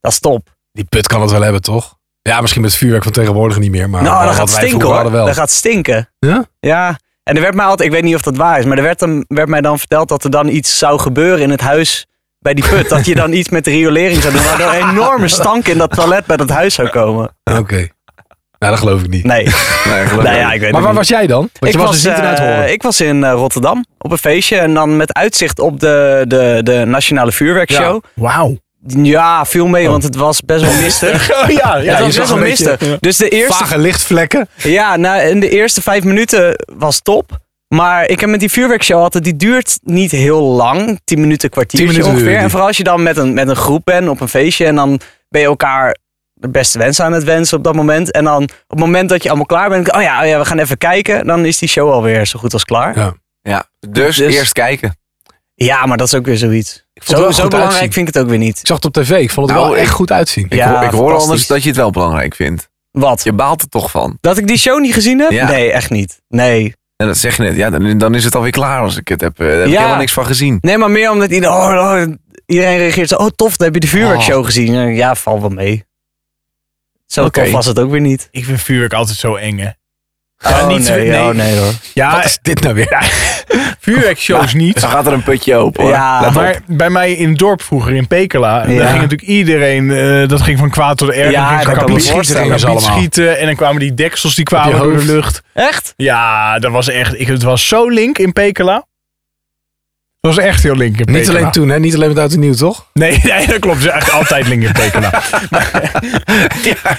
B: dat is top.
E: Die put kan het wel hebben, toch? Ja, misschien met het vuurwerk van tegenwoordig niet meer. Maar
B: nou,
E: wat
B: dat gaat
E: wij
B: stinken
E: vroeger
B: hoor.
E: hadden wel.
B: Dat gaat stinken.
E: Ja?
B: Ja. En er werd mij altijd, ik weet niet of dat waar is, maar er werd, dan, werd mij dan verteld dat er dan iets zou gebeuren in het huis bij die put. dat je dan iets met de riolering zou doen, waardoor een enorme stank in dat toilet bij dat huis zou komen.
E: Oké. Nou, dat geloof ik niet.
B: Nee,
C: Nee, gelukkig.
B: nou ja, ik weet het
E: maar waar
B: niet.
E: was jij dan? Want je was dus niet in
B: eh,
E: Uithoren.
B: ik was in eh, Rotterdam op een feestje en dan met uitzicht op de, de, de Nationale Vuurwerkshow.
D: Wauw.
B: Ja, viel mee, want het was best wel mistig.
D: Oh ja,
B: het
D: ja.
E: je
B: was best
E: zag
B: wel
E: een beetje,
B: mistig. Dus de eerste
E: Vage lichtvlekken.
B: Ja, nou, in de eerste vijf minuten was top. Maar ik heb met die vuurwerkshow altijd, die duurt niet heel lang. Tien minuten, kwartier
E: 10 minuten
B: ongeveer.
E: duurde
B: En
E: die.
B: vooral als je dan met een, met een groep bent op een feestje. En dan ben je elkaar de beste wensen aan het wensen op dat moment. En dan op het moment dat je allemaal klaar bent. Oh ja, oh ja we gaan even kijken. Dan is die show alweer zo goed als klaar. Ja,
E: Ja.
C: Ja, dus,
B: Dus-
C: eerst kijken.
B: maar dat is ook weer zoiets.
E: vond het
B: Zo,
E: wel
B: zo
E: goed
B: belangrijk
E: uitzien.
B: vind ik het ook weer niet.
E: Ik zag het op tv. Ik vond het
C: Nou,
E: wel echt
C: ik-
E: goed uitzien.
C: Ik,
B: Ja,
C: hoor, ik hoor anders
B: fantastisch.
C: dat je het wel belangrijk vindt.
B: Wat?
C: Je baalt er toch van.
B: Dat ik die show niet gezien heb?
C: Ja.
B: Nee, echt niet. Nee.
C: En dat zeg je net. Ja, dan, dan is het alweer klaar als ik het heb. eh, Daar heb ik
B: Ja.
C: helemaal niks van gezien.
B: Nee, maar meer omdat iedereen, oh, oh, iedereen reageert zo... Oh, tof, dan heb je de vuurwerkshow gezien. En Ja, val wel mee. Zo
C: Oké.
B: tof was het ook weer niet.
D: Ik vind vuurwerk altijd zo eng, hè.
B: Ja,
D: niet zo- nee.
B: oh, nee hoor.
D: Ja,
E: Wat is dit nou weer?
D: vuurwerkshows niet.
C: Dus Dan gaat er een putje open. hoor.
B: Ja.
C: Let op.
D: Maar bij mij in het dorp vroeger in Pekela,
B: Ja.
D: daar ging natuurlijk iedereen, eh, dat ging van kwaad tot erg.
B: Ja,
D: Dan ging
B: dat
D: ze
B: kan ik me
D: kapiet schieten,
E: voorstellen.
D: kapiet
E: allemaal.
D: schieten en dan kwamen die deksels die kwamen
E: Op je
D: door de
E: hoofd.
D: lucht.
B: Echt?
D: Ja, dat was echt, ik, het was zo link in Pekela. Dat was echt heel link in Pekela.
E: Niet alleen toen, hè? Niet alleen met Oud en Nieuw, toch?
D: Nee, nee, dat klopt. Ze is echt altijd link in Pekela.
C: Ja,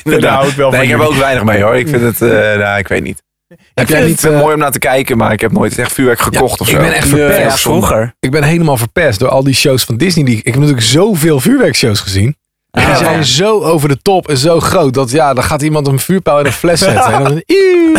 D: Daar hou ik wel
C: nee, ik
D: van
C: heb
D: jullie.
C: ook weinig mee hoor. Ik vind het, eh, nou, ik weet niet.
E: Heb jij
C: Het
E: niet...
C: is
E: eh,
C: mooi om naar te kijken, maar ik heb nooit echt vuurwerk gekocht of
E: ik
C: zo.
E: ben echt
B: Ja,
E: verpest.
B: ja, vroeger.
E: Ik ben helemaal verpest door al die shows van Disney. Die, ik heb natuurlijk zoveel vuurwerkshows gezien. En die
B: Ja.
E: zijn zo over de top en zo groot. Dat ja, dan gaat iemand een vuurpijl in een fles zetten. En dan, Ieuw.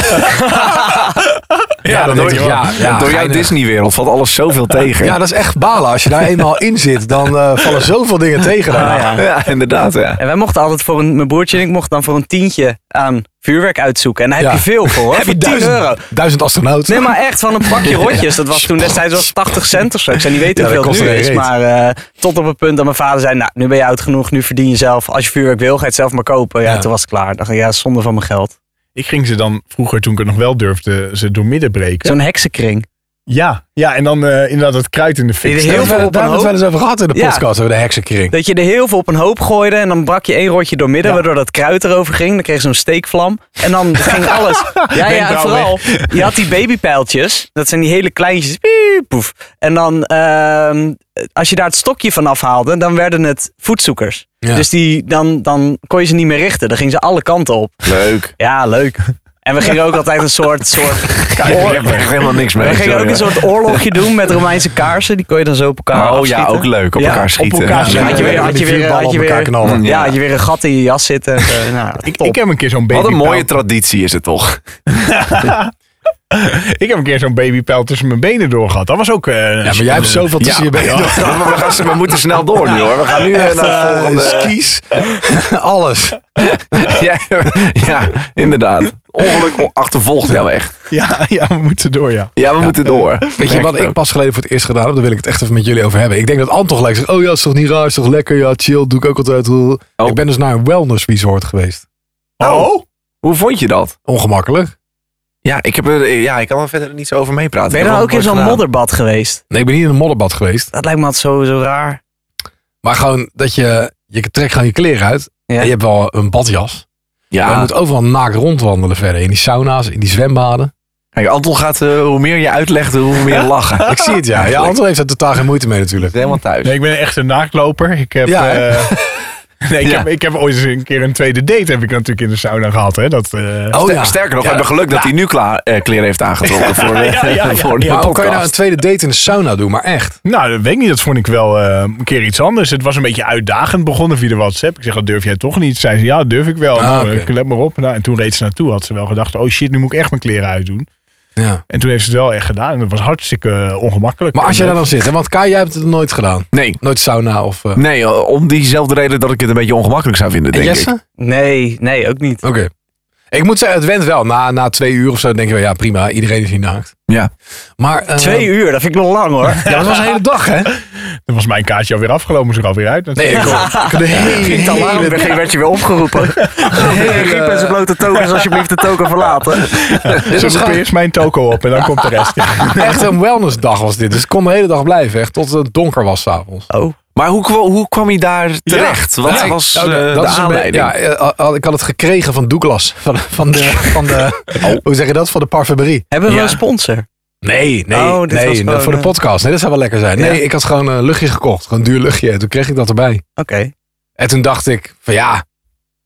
C: Ja,
E: dan
C: door,
E: denk ik, ja, ja,
C: door jouw
E: geinig.
C: Disney-wereld valt alles zoveel tegen.
E: ja, dat is echt balen. Als je daar eenmaal in zit, dan eh, vallen zoveel dingen tegen. daarna.
B: Ah, ja.
C: Ja, inderdaad. Ja.
B: En wij mochten altijd voor een, mijn broertje en ik mochten dan voor een tientje aan vuurwerk uitzoeken. En daar heb
E: Ja.
B: je veel voor hoor.
E: Heb je
B: voor 10
E: duizend,
B: euro.
E: duizend astronauten?
B: Nee, maar echt van een pakje rotjes. Dat was toen destijds was 80 cent of zo. Ik zei niet weten
E: Ja, dat
B: hoeveel het
E: kost
B: nu is.
E: geen reet.
B: Maar eh, tot op het punt dat mijn vader zei: Nou, nu ben je oud genoeg, nu verdien je zelf. Als je vuurwerk wil, ga je het zelf maar kopen. Ja,
E: Ja.
B: toen was het klaar. Dacht ik, ja, zonde van mijn geld.
D: Ik ging ze dan vroeger, toen ik het nog wel durfde, ze doormidden breken.
B: Zo'n heksenkring.
D: Ja, ja, en dan eh, inderdaad het kruid in de fik.
B: Heel
E: Daar
D: steken.
E: hebben we-
B: veel op
E: daar
B: een
E: hebben we het wel eens over gehad in de
B: Ja.
E: podcast. Over de heksenkring.
B: Dat je er heel veel op een hoop gooide en dan brak je één rotje door midden, waardoor dat kruid erover ging. Dan kreeg je zo'n steekvlam en dan ging alles. Ja, ja, en
D: Wenkbrauw
B: vooral, je had die babypijltjes. Dat zijn die hele kleintjes. Piep, poef. En dan, ehm, als je daar het stokje van afhaalde, dan werden het voetzoekers.
E: Ja.
B: Dus die, dan, dan kon je ze niet meer richten. Dan gingen ze alle kanten op.
C: Leuk.
B: Ja, leuk. En we gingen ook altijd een soort, soort
C: ik heb er echt helemaal niks mee.
B: we gingen
C: sorry,
B: ook een
C: hoor.
B: soort oorlogje doen met Romeinse kaarsen. Die kon je dan zo op elkaar
C: Oh ja,
B: afschieten.
C: ook leuk. Op
B: Ja,
C: elkaar
B: op
C: schieten.
D: elkaar
C: Ja.
D: schieten.
B: Had je weer, had je
E: Die
B: weer,
E: vuurballen
B: had je
E: op elkaar
B: weer,
E: knallen.
B: ja,
C: Ja.
B: had je weer een gat in je jas zitten. Eh, nou,
D: Ik,
B: top.
D: ik heb een keer zo'n
C: Wat
D: babypijl.
C: een mooie traditie is het toch?
D: Ik heb een keer zo'n babypijl tussen mijn benen door gehad. Dat was ook... eh,
E: Ja, maar jij hebt zoveel tussen je benen.
C: Ja, maar we, gaan, we moeten snel door nu hoor. We gaan nu eh, naar de
E: Eh,
C: volgende.
E: skis. Alles.
C: Ja, ja, inderdaad. Ongeluk achtervolgt jou echt.
D: ja, ja, we moeten door, ja.
C: Ja, we moeten door.
E: Weet je wat ik pas geleden voor het eerst gedaan heb? Daar wil ik het echt even met jullie over hebben. Ik denk dat Anton gelijk zegt, oh ja, is toch niet raar, is toch lekker, ja, chill, doe ik ook altijd. Ik ben dus naar een wellness resort geweest.
C: Oh? Hoe vond je dat?
E: Ongemakkelijk.
C: Ja, ik, heb er, ja, ik kan er verder niet zo over meepraten.
B: ben je
C: Ik
B: dan
C: heb
B: ook in
C: het nooit
B: zo'n
C: gedaan.
B: modderbad geweest?
E: Nee, ik ben niet in een modderbad geweest.
B: Dat lijkt me altijd zo, zo raar.
E: Maar gewoon dat je, je trekt gewoon je kleren uit.
B: Ja.
E: En je hebt wel een badjas. Maar je
C: Ja,
E: moet overal naakt rondwandelen verder. In die sauna's, in die zwembaden.
C: Kijk, Anton gaat, eh, hoe meer je uitlegt, hoe meer lachen.
E: Ik zie het, ja. Ja, Anton heeft daar totaal geen moeite mee natuurlijk.
C: Helemaal thuis.
D: Nee, ik ben echt een naaktloper. Ik heb,
E: Ja, hè?
D: eh, nee, ik,
C: Ja.
D: heb, ik heb ooit eens een keer een tweede date heb ik natuurlijk in de sauna gehad. Hè? Dat, eh,
E: Oh ja.
C: Sterker nog, we hebben geluk dat hij nu klaar, eh, kleren heeft aangetrokken voor, de- voor de
E: Maar hoe kan je nou een
C: podcast.
E: tweede date in de sauna doen? Maar echt.
D: Nou, dat weet ik niet. Dat vond ik wel eh, een keer iets anders. Het was een beetje uitdagend begonnen via de WhatsApp. Ik zeg, dat durf jij toch niet? Zei ze, ja, dat durf ik wel.
E: Ah,
D: nou,
E: oké.
D: eh, Let maar op. Nou, en toen reed ze naartoe. Had ze wel gedacht, oh shit, nu moet ik echt mijn kleren uitdoen.
E: Ja.
D: En toen heeft ze het wel echt gedaan. En dat was hartstikke eh, ongemakkelijk.
E: Maar als
D: En
E: jij daar
D: dat-
E: dan zit, hè? want Kai, jij hebt het nooit gedaan.
C: Nee,
E: Nooit sauna of... eh,
C: nee, eh, om diezelfde reden dat ik het een beetje ongemakkelijk zou vinden,
E: en
C: denk
E: Jesse?
C: ik.
B: Nee, nee, ook niet.
E: Oké. Ik moet zeggen, het went wel. Na, na twee uur of zo denk je wel, ja prima, iedereen is hier naakt.
C: Ja.
E: Maar, eh,
B: Twee uur, dat vind ik nog lang hoor.
E: Ja, dat was een hele dag, hè?
D: Dan was mijn kaartje alweer afgelopen. Moest ik er alweer uit.
E: Nee, ik hoor. Ik had een hele,
B: Niet al lang,
E: hele,
B: begin werd je weer opgeroepen. Giep
C: eh.
B: en zijn blote tokens, alsjeblieft de token verlaten.
E: dit was
D: Dus
E: gewoon
D: eerst mijn toko op en dan komt de rest. Ja.
E: echt een wellnessdag was dit. Dus ik kon de hele dag blijven, echt. Tot het donker was s'avonds.
B: Oh,
C: Maar hoe, kwa- hoe kwam je daar terecht? Wat
E: Ja,
C: was
E: nou,
C: eh, de
E: dat is een be-
C: aanleiding?
E: Ja, eh, had- ik had het gekregen van Douglas. Van, van de, van de hoe zeg je dat? Van de parfumerie.
B: hebben we
C: Ja.
B: een sponsor?
E: Nee, nee,
B: Oh, dit
E: nee.
B: was gewoon,
E: voor de
B: eh,
E: podcast. Nee, dat zou wel lekker zijn. Nee, ik had gewoon een luchtje gekocht. Gewoon een duur luchtje. En toen kreeg ik dat erbij.
B: Oké.
E: En toen dacht ik van ja,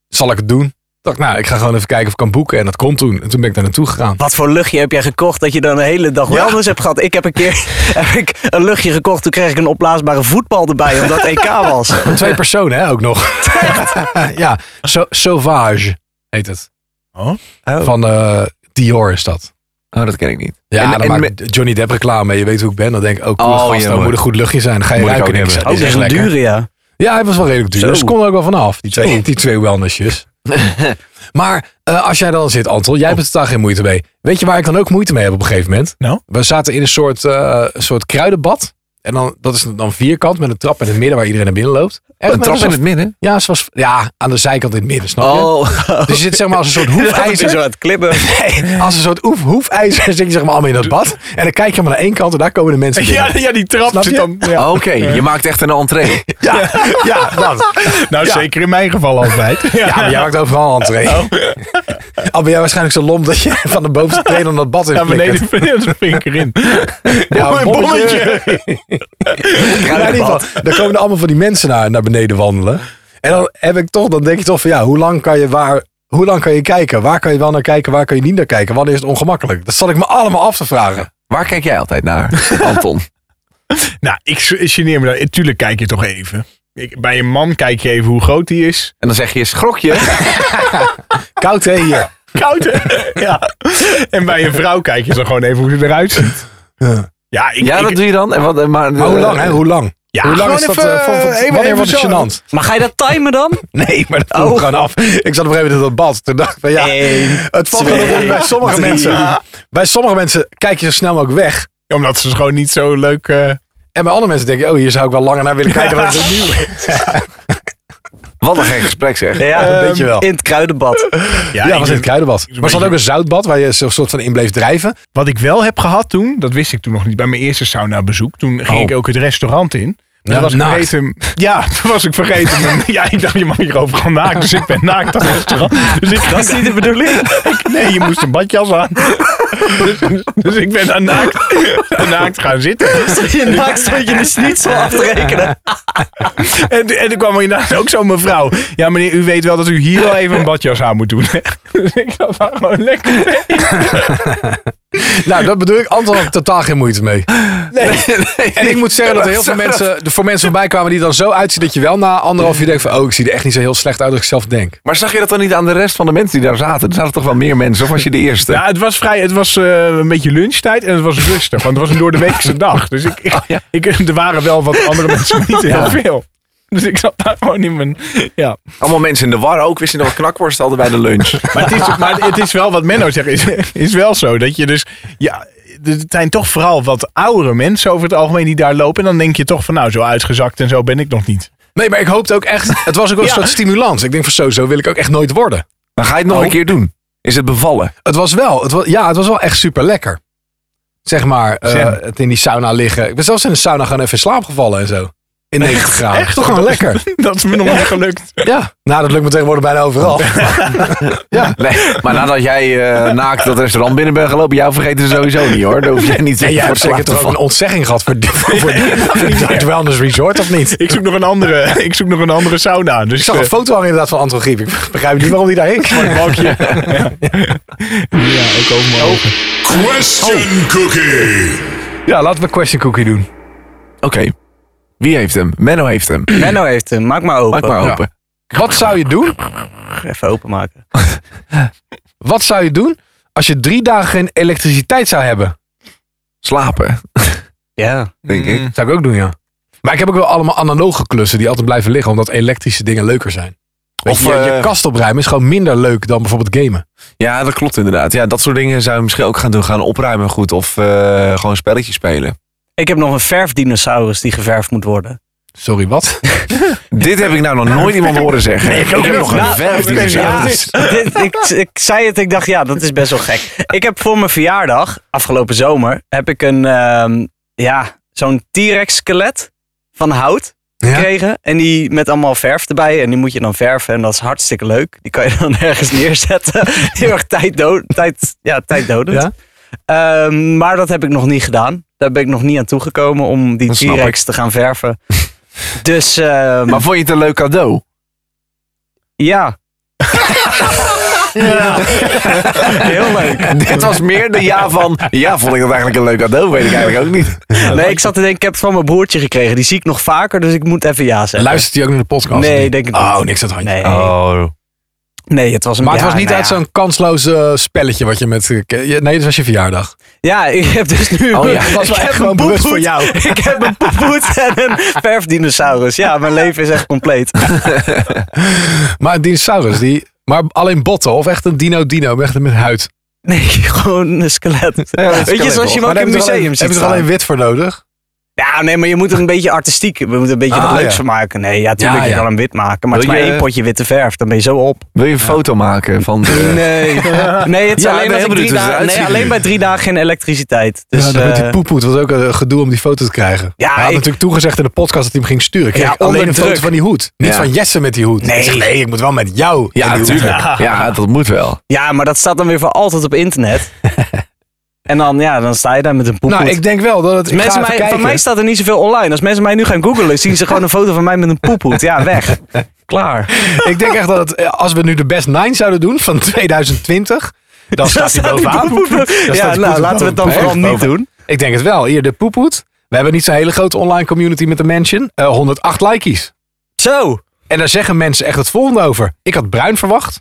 E: zal ik het doen? Toen dacht ik, nou, ik ga gewoon even kijken of ik kan boeken. En dat kon toen. En toen ben ik daar naartoe gegaan.
B: Wat voor luchtje heb jij gekocht dat je dan de hele dag wellness hebt gehad? Ik heb een keer heb ik een luchtje gekocht, toen kreeg ik een opblaasbare voetbal erbij omdat het EK was.
E: Met twee personen hè, ook nog. ja, so, Sauvage heet het.
B: Oh.
E: Van eh, Dior is dat.
C: Oh, dat ken ik niet.
E: Ja,
C: En-
E: dan
C: en
E: maak
C: met-
E: ik Johnny Depp reclame. Je weet hoe ik ben. Dan denk ik, ook
C: Oh,
E: cool, gast,
C: ja,
E: dan
C: mooi.
E: moet een goed luchtje zijn. Dan ga je
C: Moet ik ook
E: ruiken. en ik
C: hebben.
E: zeg,
B: Ook
E: dit
B: dat
E: is
B: is een
E: lekker.
B: dure, ja.
E: Ja, hij was wel redelijk duur.
B: Zo.
E: Dus ze konden er ook wel vanaf, die twee, die twee wellnessjes. maar eh, als jij dan zit, Anton, jij hebt er totaal geen moeite mee. Weet je waar ik dan ook moeite mee heb op een gegeven moment?
D: Nou?
E: We zaten in een soort, eh, een soort kruidenbad. En dan, dat is dan vierkant met een trap in het midden waar iedereen naar binnen loopt. En
C: Een trap in het midden?
E: Ja, ze was, ja, aan de zijkant in het midden, snap je?
C: Oh,
E: Dus je zit zeg maar als een soort
B: Hij
E: hoefijzer.
B: zo aan het klippen.
E: Nee, als een soort oef, hoefijzer zit je zeg maar allemaal in dat bad. En dan kijk je maar naar één kant en daar komen de mensen binnen.
D: Ja, ja, die trap
E: Snap
D: zit
E: je?
D: dan... Ja.
C: Ah, oké. Je maakt echt een entree.
E: Ja, ja, dat.
D: Nou,
E: Ja.
D: zeker in mijn geval altijd.
E: Ja, maar jij maakt overal entree.
D: Oh.
E: Al ben jij waarschijnlijk zo lom dat je van de bovenste treden aan dat bad in
D: Naar beneden
E: flikkert.
D: spring ik erin.
E: Ja,
D: Oh, een
E: Ja, in ieder geval, dan komen er allemaal van die mensen naar, naar beneden wandelen. En dan heb ik toch, dan denk je toch van ja, hoe lang kan je waar... Hoe lang kan je kijken? Waar kan je wel naar kijken? Waar kan je niet naar kijken? Wanneer is het ongemakkelijk? Dat zat ik me allemaal af te vragen.
C: Waar kijk jij altijd naar, Anton?
D: Nou, ik s- geneer me daar. Tuurlijk kijk je toch even. Ik, bij een man kijk je even hoe groot hij is.
C: En dan zeg je, schrokje.
E: Koud hè hier?
D: Koud, hè? ja. En bij een vrouw kijk je dan gewoon even hoe ze eruit ziet.
E: Ja.
D: Ja, ik,
C: Ja,
D: ik-
C: dat doe je dan. En wat, eh, maar,
E: Maar hoe lang hè? Hoe lang?
D: Ja,
E: hoe lang
D: gewoon
E: is dat?
D: even,
E: eh, van- van-
D: even-
E: wanneer
D: even
E: wordt het
D: zo.
E: gênant?
B: Maar ga je dat timen dan?
E: Nee, maar dat vroeg gewoon af. Ik zat op een gegeven moment in dat bad. Toen dacht ik van ja,
B: Oh. Eén,
E: het valt wel
B: twee,
E: op bij sommige
B: drie.
E: mensen. Bij sommige mensen kijk je zo snel mogelijk weg.
D: omdat ze gewoon niet zo leuk... eh,
E: En bij andere mensen denk je, oh, hier zou ik wel langer naar willen kijken. dan ik dat nu doe.
C: Wat een gek gesprek zeg.
B: Ja,
E: Dat weet je wel.
B: Ehm, In het kruidenbad.
E: Ja,
D: ik
E: was in het kruidenbad. Maar er zat ook een zoutbad waar je zo'n soort van in bleef drijven.
D: Wat ik wel heb gehad toen, dat wist ik toen nog niet, bij mijn eerste sauna bezoek. Toen ging
E: Oh.
D: ik ook het restaurant in.
E: Ja,
D: Toen was ik
E: naakt.
D: vergeten, ja, toen was ik vergeten. mijn- ja, ik dacht, je mag hier overal naakt. Dus ik ben naakt aan het restaurant. Dus ik,
B: Dat is niet de bedoeling.
D: ik- nee, je moest een badjas aan. Dus, dus ik ben daar naakt, naakt gaan zitten.
B: Je naakt stond je de schnitzel af te rekenen.
D: En, en er kwam inderdaad ook zo'n mevrouw. Ja, meneer, u weet wel dat u hier wel even een badjas aan moet doen. hè? Dus ik dacht, nou, gewoon lekker.
E: Nou, dat bedoel ik. Anton had er totaal geen moeite mee. En ik moet zeggen dat er heel veel
C: Zo.
E: mensen, er voor mensen voorbij kwamen die dan zo uitzien dat je wel na anderhalf uur denkt van, oh, ik zie er echt niet zo heel slecht uit als ik zelf denk.
C: Maar zag je dat dan niet aan de rest van de mensen die daar zaten? Er zaten toch wel meer mensen, of was je de eerste?
D: Ja, het was vrij, het was eh, een beetje lunchtijd en het was rustig, want het was een doordeweekse dag. Dus ik, ik, ik, er waren wel wat andere mensen, maar niet heel veel. Dus ik zat daar gewoon in mijn... Ja.
C: Allemaal mensen in de war ook. Wisten nog wat knakworst hadden bij de lunch.
D: Maar, het is, maar het is wel wat Menno zegt, is, is wel zo. Dat je dus, ja, het zijn toch vooral wat oudere mensen over het algemeen die daar lopen. En dan denk je toch van, nou, zo uitgezakt en zo ben ik nog niet.
E: Nee, maar ik hoopte ook echt, het was ook wel een
D: Ja.
E: soort stimulans. Ik denk van, zo, zo wil ik ook echt nooit worden.
C: Dan ga je het nog
E: Oh.
C: een keer doen. Is het bevallen?
E: Het was wel, het was, ja, het was wel echt super lekker. Zeg maar, eh,
D: Zen.
E: het in die sauna liggen. Ik ben zelfs in de sauna gewoon even in slaap gevallen en zo. in 90 graden.
D: Echt?
E: Toch gewoon lekker.
D: Dat is me nog niet gelukt.
E: Ja. Nou, dat lukt me tegenwoordig bijna overal.
C: Nee, maar nadat jij eh, naakt dat restaurant binnen bent gelopen, jou vergeten ze sowieso niet hoor. Daar hoef jij niet
E: En jij hebt
C: voor te
E: zeker
C: laten
E: toch ook een
C: vallen.
E: ontzegging gehad voor, voor, voor, voor het Wellness Resort, of niet?
D: Ik zoek nog een andere, ik zoek nog een andere sauna. Dus
E: Ik zag
D: eh,
E: een foto hangen inderdaad van Anton Griep. Ik begrijp niet waarom hij daarheen kwam.
D: een balkje. ja, ik ook maar.
F: Question Cookie.
E: Ja, laten we Question Cookie doen.
C: Oké. Wie heeft hem? Menno heeft hem.
B: Menno heeft hem. Maak maar open.
C: Maak maar open.
E: Wat zou je doen?
B: Even openmaken.
E: Wat zou je doen als je drie dagen geen elektriciteit zou hebben?
C: Slapen,
B: Ja.
C: denk ik.
E: Zou ik ook doen, ja. Maar ik heb ook wel allemaal analoge klussen die altijd blijven liggen, omdat elektrische dingen leuker zijn. Weet
C: Of,
E: je, je
C: eh,
E: kast opruimen is gewoon minder leuk dan bijvoorbeeld gamen.
C: Ja, dat klopt inderdaad. Ja, dat soort dingen zou je misschien ook gaan doen. Gaan opruimen goed of eh, gewoon spelletjes spelen.
B: Ik heb nog een verfdinosaurus die geverfd moet worden.
E: Sorry, wat?
C: Dit heb ik nou nog nooit iemand horen zeggen. ik heb nog een
B: Nou,
C: verf die
D: oké,
C: er
D: ja.
C: staat.
B: Dit- ik, ik zei het, ik dacht, ja, dat is best wel gek. Ik heb voor mijn verjaardag, afgelopen zomer, heb ik een, ehm, ja, zo'n T-Rex skelet van hout gekregen. En die met allemaal verf erbij. En die moet je dan verven. En dat is hartstikke leuk. Die kan je dan ergens neerzetten. Heel erg tijddood, tijd, ja, tijddodend.
E: Ja.
B: Ehm, maar dat heb ik nog niet gedaan. Daar ben ik nog niet aan toegekomen om die
C: Dat snap
B: T-Rex te gaan verven. Dus ehm,
C: Maar vond je het een leuk cadeau?
B: ja. Heel leuk.
C: Dit was meer de ja van. Ja, vond ik dat eigenlijk een leuk cadeau? Weet ik eigenlijk ook niet.
B: Nee, ik zat te denken, ik heb het van mijn broertje gekregen. Die zie ik nog vaker, dus ik moet even ja zeggen.
E: Luistert hij ook naar de podcast?
B: Nee,
E: of niet?
B: denk ik
E: Oh,
B: niet.
E: niks aan het handje.
B: Nee.
C: Oh.
B: Nee, het was een
E: Maar het
B: ja,
E: was niet
B: nou
E: uit
B: ja.
E: zo'n kansloos eh, spelletje wat je met... eh, ke- je- Nee, dat was je verjaardag.
B: Ja, ik heb dus nu...
E: Oh ja, het
B: ik
E: was wel echt
B: heb
E: gewoon
B: een
E: bewust voor
B: poephoed.
E: jou.
B: Ik heb een poephoed en een verfdinosaurus. Ja, mijn leven is echt compleet.
E: Maar een dinosaurus, die... Maar alleen botten of echt een dino-dino, echt met huid.
B: Nee, gewoon een skelet. Weet je,
C: skelet,
B: zoals je hem ook
E: Maar
B: in
E: daar
B: het
E: heb je toch
B: museum
E: alleen- Heb
B: ziet
E: je er alleen
B: staan.
E: wit voor nodig?
B: Ja, nee, maar je moet er een beetje artistiek... We moeten een beetje
E: Ah,
B: wat leuks
E: ja.
B: van maken. Nee, ja, tuurlijk,
E: Ja,
B: je
E: ja. eh,
B: kan hem wit maken. Maar
C: Wil
B: het is maar
C: je-
B: één potje witte verf, dan ben je zo op.
C: Wil je een foto maken van. De,
B: Nee, nee het is
C: Ja, ik
B: alleen, dat
C: ben heel
B: ik
C: benieuwd
B: drie
C: hoe ze
B: dagen,
C: eruit
B: nee,
C: zien.
B: alleen bij drie dagen geen elektriciteit. Dus,
E: ja, dan met
B: eh,
E: die poepoet was ook een gedoe om die foto te krijgen.
B: Ja,
E: hij had
B: ik-
E: natuurlijk toegezegd in de podcast dat hij hem ging sturen. Ik kreeg
B: Ja, onder
E: alleen een
B: druk.
E: foto van die hoed. Niet
C: Ja.
E: van Jesse met die hoed.
B: Nee.
E: Ik zeg, nee, ik moet wel met jou. met
C: ja,
E: die hoed. Nou,
C: natuurlijk.
E: Ja.
C: Ja, dat moet wel.
B: Ja, maar dat staat dan weer voor altijd op internet. en dan, ja, dan sta je daar met een poephoed.
E: Nou, ik denk wel dat het... ik ga
B: mensen
E: even
B: mij,
E: kijken.
B: van mij staat er niet zoveel online. Als mensen mij nu gaan googlen, zien ze gewoon een foto van mij met een poephoed. Ja, weg. Klaar.
E: Ik denk echt dat het, eh, als we nu de best 9 zouden doen van 2020, dan staat hij
B: staat die
E: bovenaan.
B: poephoed.
E: Dan staat
B: Ja, nou,
E: die poephoed
B: laten we het dan
E: bovenaan.
B: vooral
E: Echt
B: niet doen.
E: Ik denk het wel. Hier, de poepoet. We hebben niet zo'n hele grote online community met de mention. Eh, 108 likeys.
B: Zo.
E: En daar zeggen mensen echt het volgende over. Ik had bruin verwacht.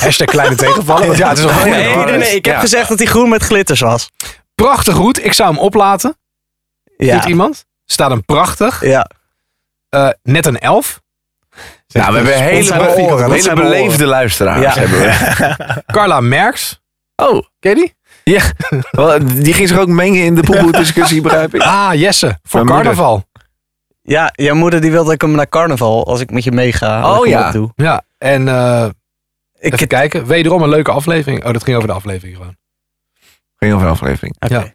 E: Hashtag kleine tegenvallen. Want ja, het is een goeie.
B: Nee, nee, nee. Ik heb
C: Ja.
B: gezegd dat hij groen met glitters was.
E: Prachtig goed. Ik zou hem oplaten. Vindt
B: Ja.
E: iemand? Staat hem prachtig.
B: ja.
E: Eh, net een 11.
C: Nou, we hebben hele,
B: zijn mijn
C: be-
B: oren, dat
C: hele
B: zijn mijn
C: beleefde
E: Ah,
B: Ja.
C: luisteraars. Hebben we.
E: Carla Merks.
C: Oh,
E: Ken je die?
C: ja. Wel, Die ging zich ook mengen in de poephoed-discussie, begrijp ik.
E: Ah, Jesse. Voor
C: Mijn
E: carnaval.
B: Ja, jouw moeder die wil dat ik hem naar carnaval, als ik met je meega. dat
C: Oh,
B: ik hem
C: ja.
B: opdoe.
E: Ja. En eh,
B: Ik,
E: Even kijken. Wederom een leuke aflevering. Oh, dat ging over de aflevering gewoon.
C: Geen over de aflevering.
B: oké.
E: Ja.
B: eh,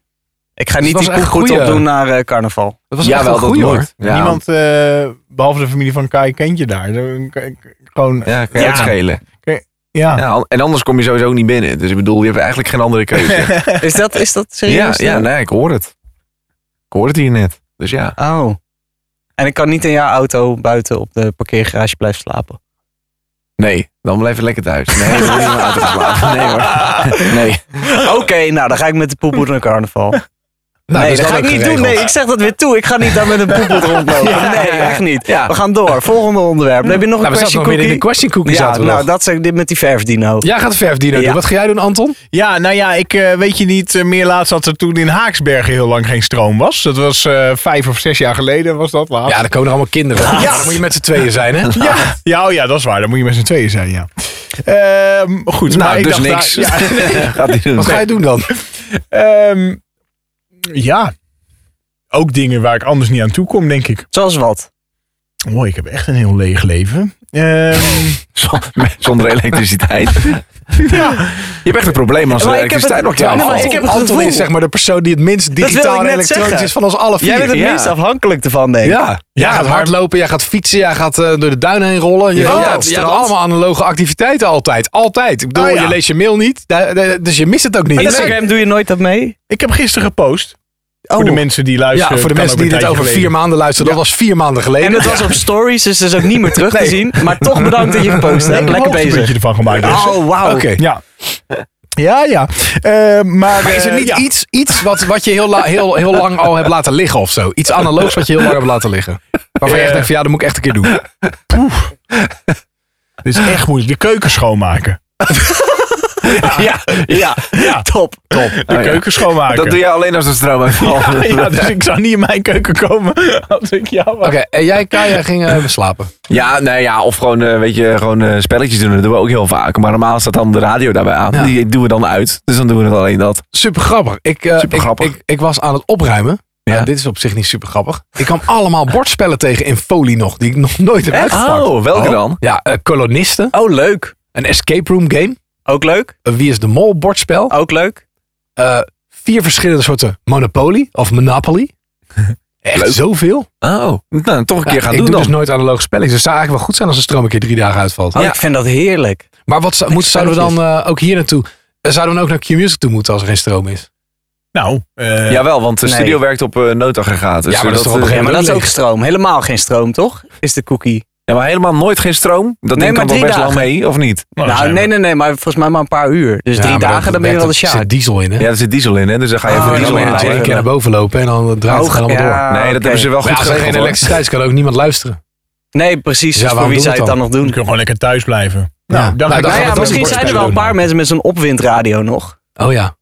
B: ik ga
E: Dus
B: niet
E: het was
B: die
E: echt
B: poephoed
E: goeie-
B: opdoen naar eh, carnaval.
E: Dat was
C: Ja,
E: echt
C: wel,
E: wel
C: dat
E: goed hoor.
C: hoort. Ja.
D: Niemand, eh, behalve de familie van Kai, kent je daar. Dan kan ik Gewoon, ja.
C: Ja, kan je
B: Ja.
C: ook schelen.
D: ja.
C: Ja, an- en anders kom je sowieso niet binnen. Dus ik bedoel, je hebt eigenlijk geen andere keuze.
B: Is dat, is dat
C: ja,
B: serieus?
C: ja, nee, ik hoor het. Ik hoor het hier net. Dus ja.
B: Oh. En ik kan niet in jouw auto buiten op de parkeergarage blijven slapen.
C: Nee, dan blijf je lekker thuis. Nee, dan niet uit te slapen. Nee hoor. Nee.
B: Oké, nou dan ga ik met de poephoed naar carnaval.
E: Nou,
B: nee,
E: dus
B: dat ga
E: dan
B: ik
E: ook
B: niet doen.
E: geregeld.
B: Nee, ik zeg dat weer toe. Ik ga niet daar met een poephoed rondlopen. nee, echt niet.
C: Ja.
B: We gaan door. Volgende onderwerp. Dan heb je nog een
E: Nou, we zaten
B: question
E: nog weer in de
B: cookie?
E: question cookie.
B: ja,
E: zaten we
B: nou
E: nog.
B: dat zeg ik dit met die verfdino.
E: Jij gaat verfdino
B: Ja.
E: doen. Wat ga jij doen, Anton?
D: Ja, nou ja, ik eh, weet je niet eh, meer laatst dat er toen in Haaksbergen heel lang geen stroom was. Dat was eh, vijf of zes jaar geleden was dat laatst.
E: Ja, dan komen er allemaal kinderen. Ja. Dan moet je met z'n tweeën zijn, hè?
D: Ja, ja, oh ja, dat is waar. Dan moet je met z'n tweeën zijn, ja. Ehm, goed, maar
C: Nou,
D: ik
C: dus
D: dacht
C: niks.
D: daar- ja,
C: Gaat die doen.
E: Wat ga je doen dan?
D: ehm, ja, ook dingen waar ik anders niet aan toe kom, denk ik.
B: Zoals wat?
D: Oh, ik heb echt een heel leeg leven. Ehm,
C: Zonder elektriciteit.
D: ja.
C: Je hebt echt een probleem als er
B: Maar ik heb
C: elektriciteit
B: het-
C: nog
B: Ja,
C: jou
B: maar
C: valt.
B: ik heb het
E: Nou, Anton
B: gevoel-
E: is zeg maar de persoon die het minst
B: wil ik
E: digitaal en
B: net
E: elektronisch
B: zeggen.
E: is van ons alle vier.
B: Jij bent het
C: ja.
B: minst afhankelijk ervan, denk ik.
E: Ja. Jij gaat
D: maar-
E: hardlopen, jij gaat fietsen, jij gaat eh, door de duinen heen rollen. Je,
B: Ja,
E: gaat-
B: ja,
E: je
B: het
E: hebt
B: strand.
E: allemaal analoge activiteiten altijd. Altijd. Ik bedoel,
D: Ah, ja.
E: je leest je mail niet, da- da- dus je mist het ook niet.
B: Instagram doe je nooit dat mee?
D: Ik heb gisteren gepost. Voor de mensen die
E: Oh. ja,
D: luisteren.
E: voor de
D: kan
E: mensen
D: ook
E: die dit
D: een tijdje
E: over vier
D: geleden.
E: maanden luisteren, dat was vier maanden geleden.
B: En het was op stories, dus dat is ook niet meer terug te
E: Nee.
B: zien. Maar toch bedankt dat je gepost
D: Ik
B: hebt.
D: heb
B: Lekker
D: een beetje
B: bezig.
D: ervan gemaakt. dus.
B: Oh, wauw.
E: Oké.
D: Ja. Ja, ja. Eh, maar,
E: Maar is er
D: eh,
E: niet
D: ja.
E: iets, iets wat, wat je heel, la- heel, heel lang al hebt laten liggen of zo? Iets analoogs wat je heel lang hebt laten liggen? Waarvan je echt
D: Eh.
E: denkt van ja, dat moet ik echt een keer doen.
D: Dit is echt moeilijk. De keuken schoonmaken.
C: Ja, ja.
B: Top.
D: De
C: ja.
D: keuken schoonmaken.
C: Dat doe je alleen als er stroom uitvalt.
D: ja, dus ik zou niet in mijn keuken komen als ik jou was.
E: Oké, en jij, Kaya, ging eh, slapen.
C: Ja, nee, ja, of gewoon, eh, weet je, gewoon eh, spelletjes doen. Dat doen we ook heel vaak. Maar normaal staat dan de radio daarbij aan.
E: Ja.
C: Die doen we dan uit. Dus dan doen we het alleen dat.
E: Super grappig. Ik, eh,
C: Supergrappig.
E: Ik, ik, ik was aan het opruimen.
C: Ja.
E: Nou, dit is op zich niet super grappig. Ik kwam allemaal bordspellen tegen in folie nog, die ik nog nooit heb uitgepakt.
C: Oh, welke dan?
E: Ja, eh, kolonisten,
B: Oh, leuk.
E: een escape room game,
B: Ook leuk.
E: een Wie is de Mol bordspel,
B: Ook leuk.
E: eh, vier verschillende soorten Monopoly of Monopoly. Echt zoveel.
C: Oh, nou, toch een keer
E: Ja,
C: gaan
E: ik
C: doen
E: doe
C: dan.
E: dus nooit analoge spelletjes. Dus het zou eigenlijk wel goed zijn als de stroom een keer drie dagen uitvalt.
B: Oh, Ik vind dat heerlijk.
E: Maar wat zou- moeten- zouden we dan eh, ook hier naartoe? eh, Zouden we ook naar Q-Music toe moeten als er geen stroom is?
D: Nou, eh,
C: Jawel, want de
B: Nee.
C: studio werkt op eh noodaggregaat. Dus
E: Ja, maar dat is toch op een
C: eh,
B: Ja,
E: gegeven
B: maar dat is
E: leeg.
B: ook stroom. Helemaal geen stroom, toch? Is de cookie.
C: ja, maar helemaal nooit geen stroom.
B: Nee,
C: Dat ding
B: maar
C: kan toch
B: drie
C: best lang mee, of niet?
D: nou,
B: nou,
D: zijn
B: nee,
D: we-
B: nee, nee. Maar volgens mij maar een paar uur. Dus drie dagen, dan ben je wel de
E: Er
B: sjaar.
E: zit diesel in, hè?
C: Ja, er zit diesel in, hè? Dus dan ga je
B: Oh,
C: even
E: Ja,
B: die
E: die
C: diesel
B: zal
E: zal
C: in. Ah,
B: je
E: in één
B: natuurlijk.
E: keer naar boven lopen en dan draait het
B: Oh,
E: gewoon allemaal door.
B: ja,
C: Nee, dat
B: oké.
C: hebben ze wel
E: Maar
C: goed
E: ja, als er geen
C: geregeld, hoor.
E: elektriciteit is, kan ook niemand luisteren.
B: Nee, precies. dus
E: Ja,
B: voor
E: waarom
B: wie
E: doen
B: zou
E: we
B: je het dan nog
E: het
D: Dan
B: doen?
D: kun je gewoon lekker thuis blijven.
E: Ja.
D: Nou,
E: Nou,
D: dan
E: dan
D: ga
B: Nou
E: gaan
D: ik
E: we
B: ja,
E: dat
B: misschien
E: ook
B: zijn er
E: doen
B: wel een
E: dan.
B: paar mensen met zo'n opwindradio nog.
E: Oh ja.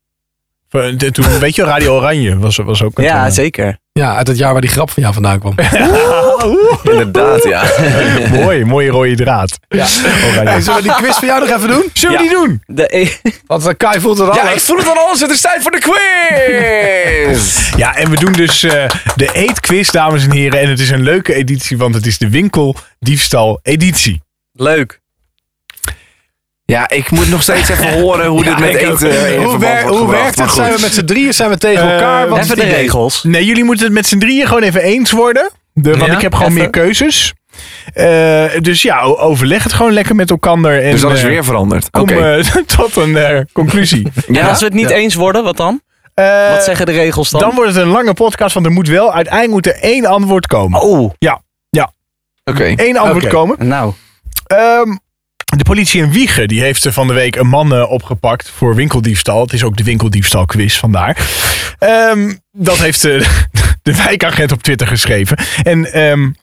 D: Van- Toen, Eh, weet je, Radio Oranje was, was ook een
B: Ja, zeker.
E: Ja, uit het jaar waar die grap van jou vandaan kwam.
C: Inderdaad, ja.
D: eh, Mooi, mooie rode draad. Ja.
E: Zullen we die quiz van jou nog even doen? Zullen
C: we
E: die doen?
B: De, e-
E: Want eh, Kai voelt het al.
C: Ja, ik voel het aan alles. Het is tijd voor de quiz.
D: Ja, en we doen dus eh, de eetquiz, dames en heren. En het is een leuke editie, want het is de winkeldiefstal editie.
B: leuk.
C: Ja, ik moet nog steeds even horen hoe dit met
E: ik ook.
C: eten eh, in
E: hoe
C: verband
E: wer-
C: wordt
E: hoe
C: gebracht,
E: werkt
C: maar
E: het? Zijn
C: goed.
E: we met z'n drieën? Zijn we tegen
D: Eh,
E: elkaar? Wat is
B: Even
E: het
B: de
E: idee?
B: regels.
D: Nee, jullie moeten het met z'n drieën gewoon even eens worden. De, want
E: Ja,
D: ik heb gewoon
B: even.
D: meer keuzes. Eh, dus ja, o- overleg het gewoon lekker met elkaar. En,
C: Dus dat is
D: eh,
C: weer veranderd. Oké.
D: Kom eh, tot een eh, conclusie.
B: En als we het niet eens worden, wat dan?
D: Eh,
B: Wat zeggen de regels dan?
D: Dan wordt het een lange podcast, want er moet wel uiteindelijk moet er één antwoord komen.
B: Oh,
C: Oké.
D: Eén antwoord
E: Oké.
D: komen.
B: nou.
D: Ehm, de politie in Wiegen die heeft er van de week een man eh, opgepakt voor winkeldiefstal. Het is ook de winkeldiefstalquiz vandaar. Ehm, dat heeft eh, de wijkagent op Twitter geschreven. En ehm, n-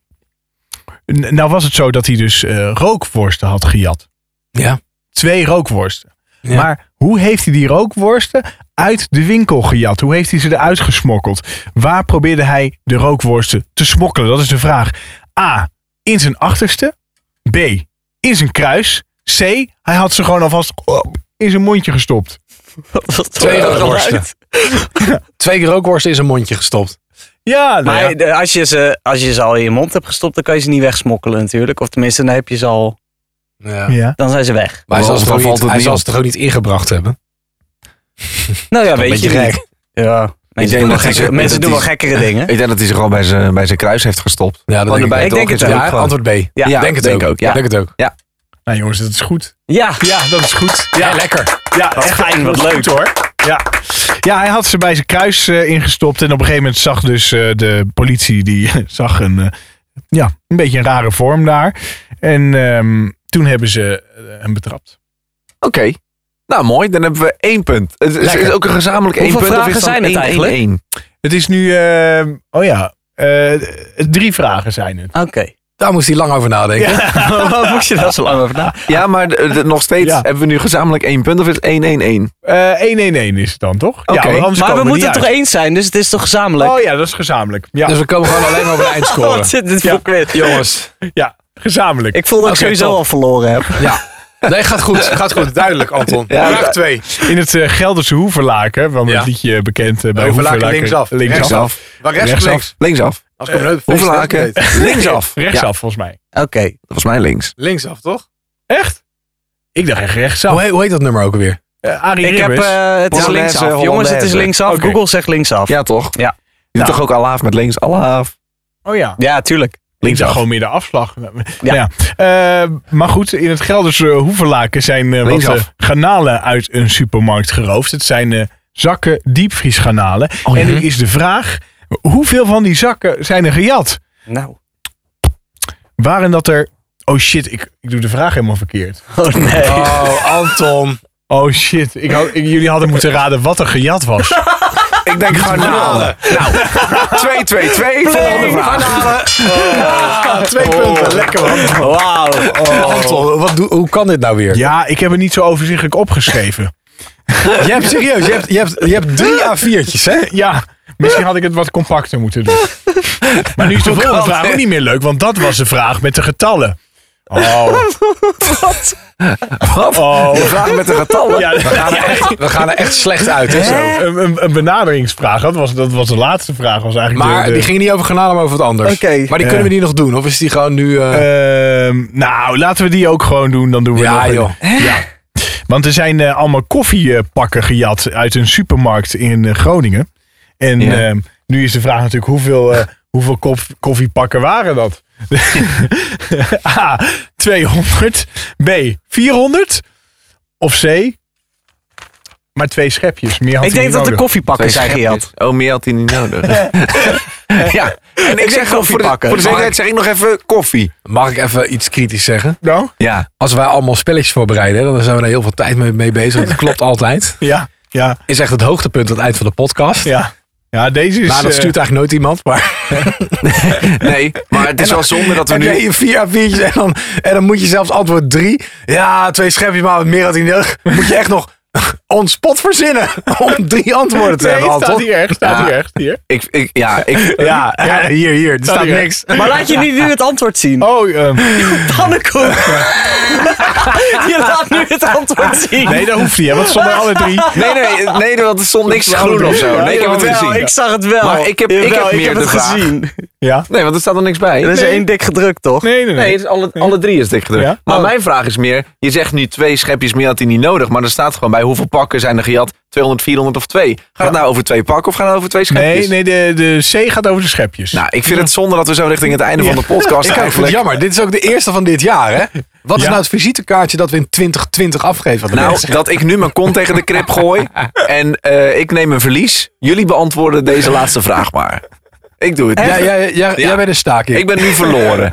D: nou was het zo dat hij dus eh, rookworsten had gejat.
E: Ja.
D: Twee rookworsten.
E: Ja.
D: Maar hoe heeft hij die rookworsten uit de winkel gejat? Hoe heeft hij ze eruit gesmokkeld? Waar probeerde hij de rookworsten te smokkelen? Dat is de vraag. A. In zijn achterste. B. In zijn kruis. C. Hij had ze gewoon alvast eh, in zijn mondje gestopt.
E: Twee rookworsten. Twee keer rookworsten in zijn mondje gestopt.
D: Ja, nou ja.
B: Maar eh, als je, ze, als je ze al in je mond hebt gestopt, dan kan je ze niet wegsmokkelen natuurlijk. Of tenminste, dan, heb je ze al,
E: Ja.
D: ja.
B: dan zijn ze weg.
E: Maar hij zal
C: Dan
E: ze
C: valt
E: toch niet-
C: het
E: hij
C: niet
E: zal
C: op.
E: ze toch ook niet ingebracht hebben?
B: Nou ja,
E: Een
B: weet je
E: beetje
B: niet.
E: gek.
B: Ja. Mensen, doen
C: denk
B: wel,
C: dat die
B: gekkere-
C: ze-
B: mensen
C: dat
B: doen wel
C: die-
B: gekkere dingen.
C: Ik denk dat hij zich gewoon bij zijn, bij zijn kruis heeft gestopt.
E: Ja, dat
C: Van
E: denk
C: de
E: ik.
B: Ik
C: bijtel
B: denk het
C: is
B: ook.
E: Ja,
C: gewoon-
E: antwoord B.
B: Ja,
E: Ik denk het
C: denk
E: ook.
C: ook, ja.
E: Ik denk het ook.
D: Nou jongens, dat is goed.
B: Ja,
D: Ja, dat is goed.
E: Ja, lekker.
D: Ja,
B: Wat fijn, wat leuk.
D: goed, hoor. Ja. ja, hij had ze bij zijn kruis eh, ingestopt. En op een gegeven moment zag dus eh, de politie, die zag een, eh, ja, een beetje een rare vorm daar. En ehm, toen hebben ze eh, hem betrapt.
C: Oké. Nou, mooi. Dan hebben we één punt. Het is,
E: Lekker.
C: is ook een gezamenlijk één
B: Hoeveel
C: punt.
B: vragen zijn het eigenlijk?
C: Één,
D: Het is nu, eh, oh ja, eh, drie vragen zijn het.
B: oké.
E: Daar moest hij lang over nadenken.
B: Waarom moest je daar zo lang over na?
C: Ja, maar d- d- nog steeds
D: Ja.
C: hebben we nu gezamenlijk één punt. Of is het 1 1 1
D: Eh, 1-1-1 is het dan, toch?
C: Oké,
D: want anders
B: Maar we
D: komen
B: moeten
D: niet
B: het toch
D: uit.
B: eens zijn, dus het is toch gezamenlijk?
D: Oh ja, dat is gezamenlijk. Ja,
E: Dus we komen gewoon alleen maar op de eindscore.
B: Wat zit dit voor
D: Ja.
B: quiz?
E: Jongens.
D: ja gezamenlijk.
B: Ik voel dat ik
E: Oké,
B: sowieso
E: top.
B: al verloren heb.
E: Ja. Nee, gaat goed. Gaat goed. Duidelijk, Anton.
C: Ja,
E: Vraag
C: ja.
E: 2.
D: In het eh, Gelderse Hoeverlaken, van
E: Ja.
D: het liedje bekend eh, bij
E: Hoeverlaken
D: Hoeverlaken.
E: linksaf.
D: linksaf.
C: Linksaf.
E: Maar rechts of
D: Rechtsaf.
E: links?
C: Linksaf.
E: Als ik hem leuk vind,
C: Hoeveel
E: is
C: haken?
E: het leuk.
C: Linksaf.
D: Rechtsaf, volgens mij.
B: Oké.
C: Dat was mij links.
E: Linksaf, toch?
D: Echt? Ik dacht echt rechtsaf.
E: Hoe heet, hoe heet dat nummer ook alweer?
D: Eh, Arie
B: Ik heb,
D: Ribbers.
B: eh, het is
C: Polonaise,
B: linksaf.
C: Hollandaise.
B: Jongens, het is linksaf.
D: Oké.
B: Google zegt linksaf. Ja,
C: Ja, toch?
B: Ja. Nou.
C: Je doet toch ook Alaaf met links? Alaaf.
D: oh ja.
B: tuurlijk.
D: Ik dacht
C: Linksaf.
D: gewoon meer de afslag. Nou Ja. Eh, maar goed, in het Gelderse Hoevelaken zijn eh wat
C: Linksaf.
D: eh, garnalen uit een supermarkt geroofd. Het zijn eh, zakken diepvriesgarnalen. En nu is de vraag, hoeveel van die zakken zijn er gejat?
B: Nou.
D: Waren dat er... Oh shit, ik, ik doe de vraag helemaal verkeerd.
B: Oh nee.
E: Oh, Anton.
D: Oh shit, ik had, ik- jullie hadden moeten raden wat er gejat was.
C: Ik denk
E: Ah,
C: garnalen. Nou, 2-2-2. Volgende vraag.
D: twee
E: Oh.
D: punten, lekker man.
B: Wauw.
E: Anton, wat doe, hoe kan dit nou weer?
D: Ja, ik heb het niet zo overzichtelijk opgeschreven.
E: Je hebt serieus, je hebt, je hebt, je hebt drie A4'tjes, hè?
D: Ja, misschien had ik het wat compacter moeten doen. Maar nu is de volgende vraag ook niet meer leuk, want dat was de vraag met de getallen. Oh. Wat? Oh.
C: Vraag met de getallen.
D: Ja,
E: We gaan er echt slecht uit, hè? zo.
D: een, een, een benaderingsvraag. Dat was, dat was de laatste vraag. Was eigenlijk
E: Maar
D: de, de-
E: die ging niet over garnalen, maar over wat anders.
B: Oké.
E: Maar die kunnen we niet nog doen, of is die gewoon nu... eh,
D: Ehm, nou, laten we die ook gewoon doen. Dan doen we nog
E: ja,
D: een-
E: joh.
D: Want er zijn eh, allemaal koffiepakken gejat uit een supermarkt in eh, Groningen. En
C: Ja.
D: ehm, nu is de vraag natuurlijk hoeveel, eh, hoeveel kof- koffiepakken waren dat? A. 200. B. 400. Of C. Maar twee schepjes. Meer had
B: Ik
D: hij
B: denk
D: niet
B: dat de
D: nodig.
B: koffiepakken zijn gejat.
C: Oh, meer had hij niet nodig. ja. En ik, zeg gewoon voor de,
B: koffiepakken.
C: voor de zekerheid zeg ik nog even koffie.
E: Mag ik even iets kritisch zeggen?
D: Nou,
C: Ja.
E: Als wij allemaal spelletjes voorbereiden, hè, dan zijn we daar heel veel tijd mee, mee bezig. Dat klopt altijd.
D: ja, ja,
E: Is echt het hoogtepunt aan het eind van de podcast.
D: ja. Ja, deze is...
E: Nou, dat
D: eh,
E: stuurt eigenlijk nooit iemand, maar...
C: Nee, maar het is wel zonde dat we
E: Dan
C: nu...
E: je vier A4'tjes en dan, en dan moet je zelfs antwoord drie. Ja, twee schepjes, maar wat meer had hij nodig. Moet je echt nog on spot verzinnen om drie antwoorden te
D: Nee,
E: hebben,
D: staat
E: Anton.
D: hier echt. Staat
C: Ja.
D: hier echt. Hier.
C: Ik, ik, ja, ik,
E: Ja, ja, hier, hier. Er staat
D: hier.
E: niks.
B: Maar laat je nu, nu het antwoord zien.
D: Oh, ehm,
B: Pannenkoek. je laat nu het antwoord zien.
D: nee, dat hoeft niet. hè, Want zonder alle drie...
C: nee, nee, nee, want er stond niks groen of zo. Nee, ik heb het
B: Jawel,
C: gezien.
B: Ik zag het wel.
C: Maar ik heb- ik heb
B: Jawel,
C: meer de
B: het
C: vraag.
B: gezien.
D: Ja.
C: Nee, want er staat er niks bij.
B: Er is één dik gedrukt, toch?
D: Nee, nee,
C: Nee,
D: nee.
C: het is alle, alle drie is dik gedrukt.
D: Ja?
C: Maar
D: Oh.
C: mijn vraag is meer, je zegt nu twee schepjes meer had hij niet nodig, maar er staat gewoon bij hoeveel pakken zijn er gejat? 200, 400 of twee? Gaat het nou over twee pakken of gaat het over twee schepjes?
D: Nee, nee, de, de C gaat over de schepjes.
C: Nou, ik vind het zonde dat we zo richting het einde van de podcast
E: Ik vind het
C: eigenlijk...
E: jammer. Dit is ook de eerste van dit jaar, hè? Wat is
D: Ja.
E: nou het visitekaartje dat we in 2020 afgeven? aan de mensen?
C: Nou, dat ik nu mijn kont tegen de krip gooi en eh, ik neem een verlies. Jullie beantwoorden deze laatste vraag maar. Ik doe het.
E: ja,
C: Jij-
E: ja, ja, ja, jij bent een staking.
C: Ik ben nu verloren.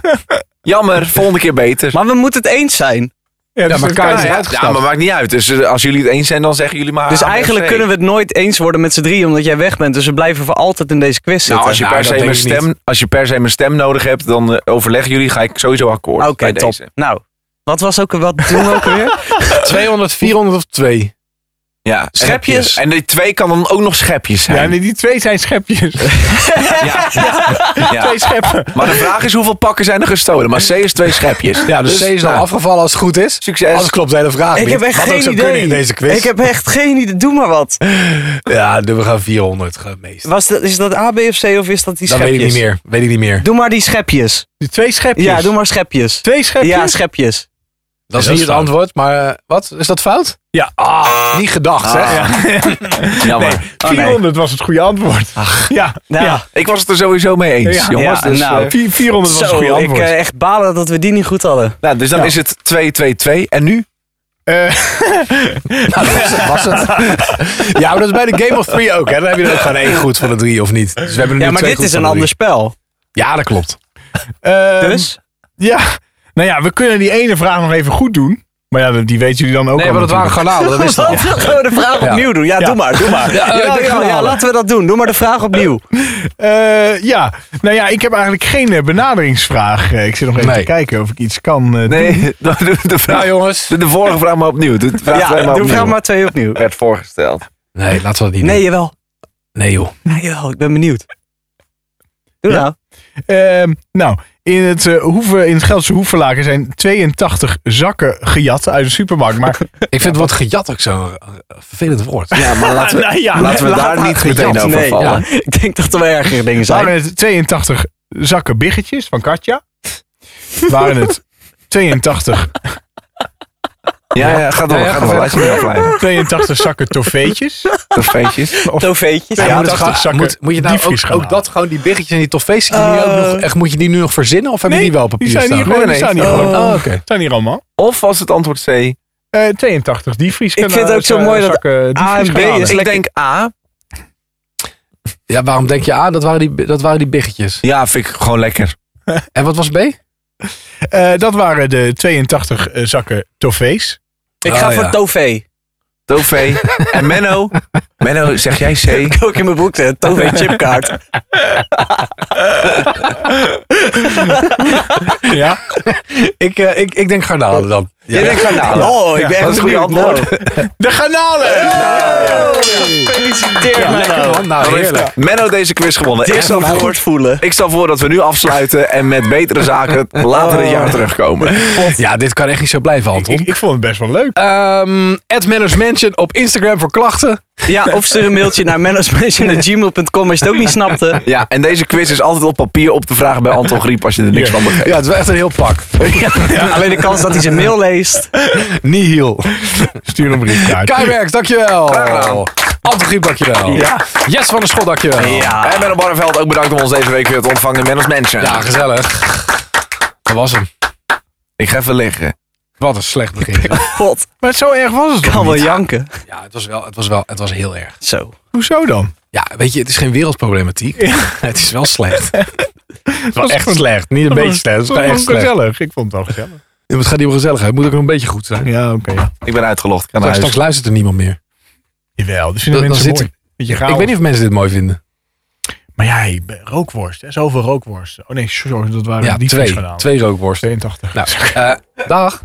C: Jammer, volgende keer beter.
B: Maar we moeten het eens zijn.
D: ja, dus
E: maar Karin is
C: ja,
E: uitgestapt.
C: maar maakt niet uit. Dus eh, als jullie het eens zijn, dan zeggen jullie maar...
B: Dus eigenlijk kunnen we het nooit eens worden met z'n drieën, omdat jij weg bent. Dus we blijven voor altijd in deze quiz zitten.
C: Nou, als je,
E: Nou,
C: per
E: dat
C: se
E: denk
C: mijn
E: ik niet.
C: stem, als je per se mijn stem nodig hebt, dan eh, overleggen jullie. Ga ik sowieso akkoord.
B: Oké,
C: bij
B: top.
C: deze.
B: Nou, wat was ook, wat doen we ook weer?
E: 200, 400 of 2?
C: Ja.
B: Schepjes.
C: En die twee kan dan ook nog schepjes
D: Ja,
C: zijn.
D: nee, die twee zijn schepjes.
C: Ja. Ja.
D: Twee scheppen.
C: Maar de vraag is hoeveel pakken zijn er gestolen? Maar C is twee schepjes.
E: Ja, dus, C is dan
C: nou,
E: afgevallen als het goed is.
C: Succes.
E: Als klopt de hele vraag
B: Ik
E: niet.
B: heb echt
E: Wat ook
B: geen
E: zou kunnen
B: idee.
E: in deze quiz.
B: Ik heb echt geen idee. Doe maar wat.
E: Ja, doen we gaan 400 gaan meest.
B: Was dat, is dat A, B of C of is dat die
E: Dat
B: schepjes?
E: weet ik niet meer. Weet ik niet meer.
B: Doe maar die schepjes.
D: Die twee schepjes.
B: Ja, doe maar schepjes.
D: Twee schepjes?
B: Ja, schepjes.
E: Dat is
D: dat
E: niet
D: is
E: het
D: fout.
E: antwoord, maar eh, wat? Is dat fout?
D: Ja.
E: Ah, niet gedacht, hè?
C: Jammer.
D: 400 was het goede antwoord. Ja,
B: Nou,
D: ja.
C: Ik was het er sowieso mee eens,
D: Ja.
C: jongens.
B: Ja,
C: dus,
B: nou.
C: eh,
D: Vier- 400 was het
B: Zo,
D: goede
B: ik
D: antwoord.
B: eh, echt balen dat we die niet goed hadden.
C: nou, dus dan is het 2-2-2. En nu?
E: Nou, dat was het. was het. ja, maar dat is bij de Game of Three ook, hè? Dan heb je er ook gewoon één goed van de drie of niet. Dus we hebben er nu
B: Ja, maar
E: twee
B: dit
E: goed
B: is
E: van
B: een
E: de drie.
B: ander spel.
E: Ja, dat klopt.
D: Ehm,
B: Dus?
D: Ja. Nou ja, we kunnen die ene vraag nog even goed doen. Maar ja, die weten jullie dan ook
E: Nee,
D: al
E: maar dat waren
D: natuurlijk.
C: Oh,
E: garnalen, dat wist ik al.
B: Laten we gewoon de vraag
E: Ja.
B: opnieuw doen. Ja,
D: Ja.
B: doe maar, doe maar. Ja,
E: eh,
B: ja,
E: de
B: ja,
E: kanalen.
B: laten we dat doen. Doe maar de vraag opnieuw.
D: Eh, ja, nou ja, ik heb eigenlijk geen eh, benaderingsvraag. Eh, Ik zit nog even
E: Nee.
D: te kijken of ik iets kan eh, doen.
C: Nee, dan doe de, vraag,
E: Nou, jongens.
C: de, de vorige vraag maar opnieuw. De vraag twee
B: Ja,
C: maar
B: doe
C: opnieuw.
B: vraag maar twee opnieuw.
C: werd voorgesteld.
E: Nee, laten we dat niet
B: Nee,
E: doen.
B: jawel.
E: Nee, joh.
B: Nee, jawel. Ik ben benieuwd. Doe nou.
D: Ehm, nou, in het, eh hoeven, in het Gelderse Hoevelaken zijn 82 zakken gejat uit de supermarkt. Maar
E: Ik vind het gejat ook zo'n eh, vervelend woord.
C: Ja, maar laten we,
D: Nou ja,
C: Ah, laten we
D: laat
C: daar
D: maar
C: niet
D: gejat.
C: meteen over
B: nee,
C: vallen.
B: ja. Ik denk dat er wel erger dingen zijn.
D: waren het 82 zakken biggetjes van Katja. Waren het 82,
C: Ja, ja, ga door.
E: Ja, ja,
C: ga
E: ga
C: door.
E: verder.
C: Laat je me afleiden.
D: 82 eh, zakken toffeetjes.
C: De feestjes.
B: Toveetjes.
E: Ja,
B: Ja,
E: moet, het
D: 80
E: gewoon-
D: zakken
E: moet, moet je nou
D: diepvries
E: ook,
D: gaan
E: ook
D: halen.
E: dat gewoon die biggetjes en die toffees, die nu
B: Eh.
E: ook nog, echt, moet je die nu nog verzinnen of hebben
D: Nee,
E: die wel op papier
D: zijn
E: staan?
D: hier
C: Nee,
D: gewoon. Die
C: nee.
D: staan hier gewoon.
E: Oh, oké.
D: Staan hier allemaal.
C: Of was het antwoord C?
D: Eh 82 diepvries.
B: Ik vind het ook zo mooi dat A en B
D: dus
B: is
C: dus Ik
B: lekker.
C: denk A.
E: Ja, waarom denk je A? Dat waren die, dat waren die biggetjes.
C: Ja, vind ik gewoon lekker.
E: En wat was B?
D: Eh, dat waren de 82 eh, zakken toffees.
B: Ik ga
E: Oh,
B: voor
E: ja.
B: Tove.
C: Tofee. En Menno. Menno, zeg jij C?
B: Ook in mijn boek, de Tove chipkaart.
D: Ja.
E: Ik, eh, ik, ik denk garnalen dan.
C: Jij denkt van nou.
B: Oh, ik ben echt
C: dat is
B: een
C: een
B: goede
C: goede
B: antwoord.
D: De garnalen!
B: Gefeliciteerd, Menno.
E: man. Nou,
C: Dan heeft
E: heerlijk.
C: Menno deze quiz gewonnen. Ik
B: Dit is
C: stel,
B: een
C: voor,
B: woord voelen.
C: ik stel voor dat we nu afsluiten en met betere zaken
E: Oh.
C: later dit jaar terugkomen.
E: Ja, dit kan echt niet zo blijven, Anton.
D: Ik, ik vond het best wel leuk.
E: Ehm Manage Mansion op Instagram voor klachten.
B: Ja, of stuur een mailtje naar management.gmail.com als je het ook niet snapte.
C: Ja, en deze quiz is altijd op papier op te vragen bij Anton Griep als je er niks van begrijpt.
E: Ja, het is wel echt een heel pak.
B: Alleen de kans dat hij zijn mail leest.
E: Nihil.
D: Stuur een brief uit.
E: Keiwerks, dankjewel.
C: gedaan.
E: Anton Griep, dankjewel.
C: Ja.
E: Jess van der Schot, dankjewel.
C: En Menno Barneveld, ook bedankt om ons deze week weer te ontvangen in Menno's Mansion.
E: Ja, gezellig. Dat was hem.
C: Ik ga even liggen.
E: Wat een slecht begin.
B: God,
D: Maar zo erg was het
B: kan
D: toch
B: wel
D: niet?
B: janken.
E: Ja, het was wel, het was wel, het was heel erg.
B: Zo.
D: Hoezo dan?
E: Ja, weet je, het is geen wereldproblematiek. Het is wel slecht.
D: Het was
E: echt slecht. Niet een beetje slecht. Het
D: Het
E: is
D: was
E: echt
D: gewoon
E: slecht.
D: gezellig. Ik vond het wel gezellig.
E: Het gaat niet om gezelligheid. Het moet ook nog een beetje goed zijn.
D: Ja, oké.
C: Ik ben uitgelogd. Ik ga naar
E: Straks,
C: huis.
E: straks luistert er niemand meer.
D: Jawel, dus vinden
E: Dan- dan zit
D: mensen mooi. Beetje
E: Ik
D: chaos.
E: weet niet of mensen dit mooi vinden.
D: Maar ja, hey, rookworst. Hè? Zoveel rookworst. Oh nee, sorry, dat waren
E: Ja,
D: die
E: twee.
D: gedaan.
E: Twee rookworsten.
D: 82.
E: Nou, eh, dag.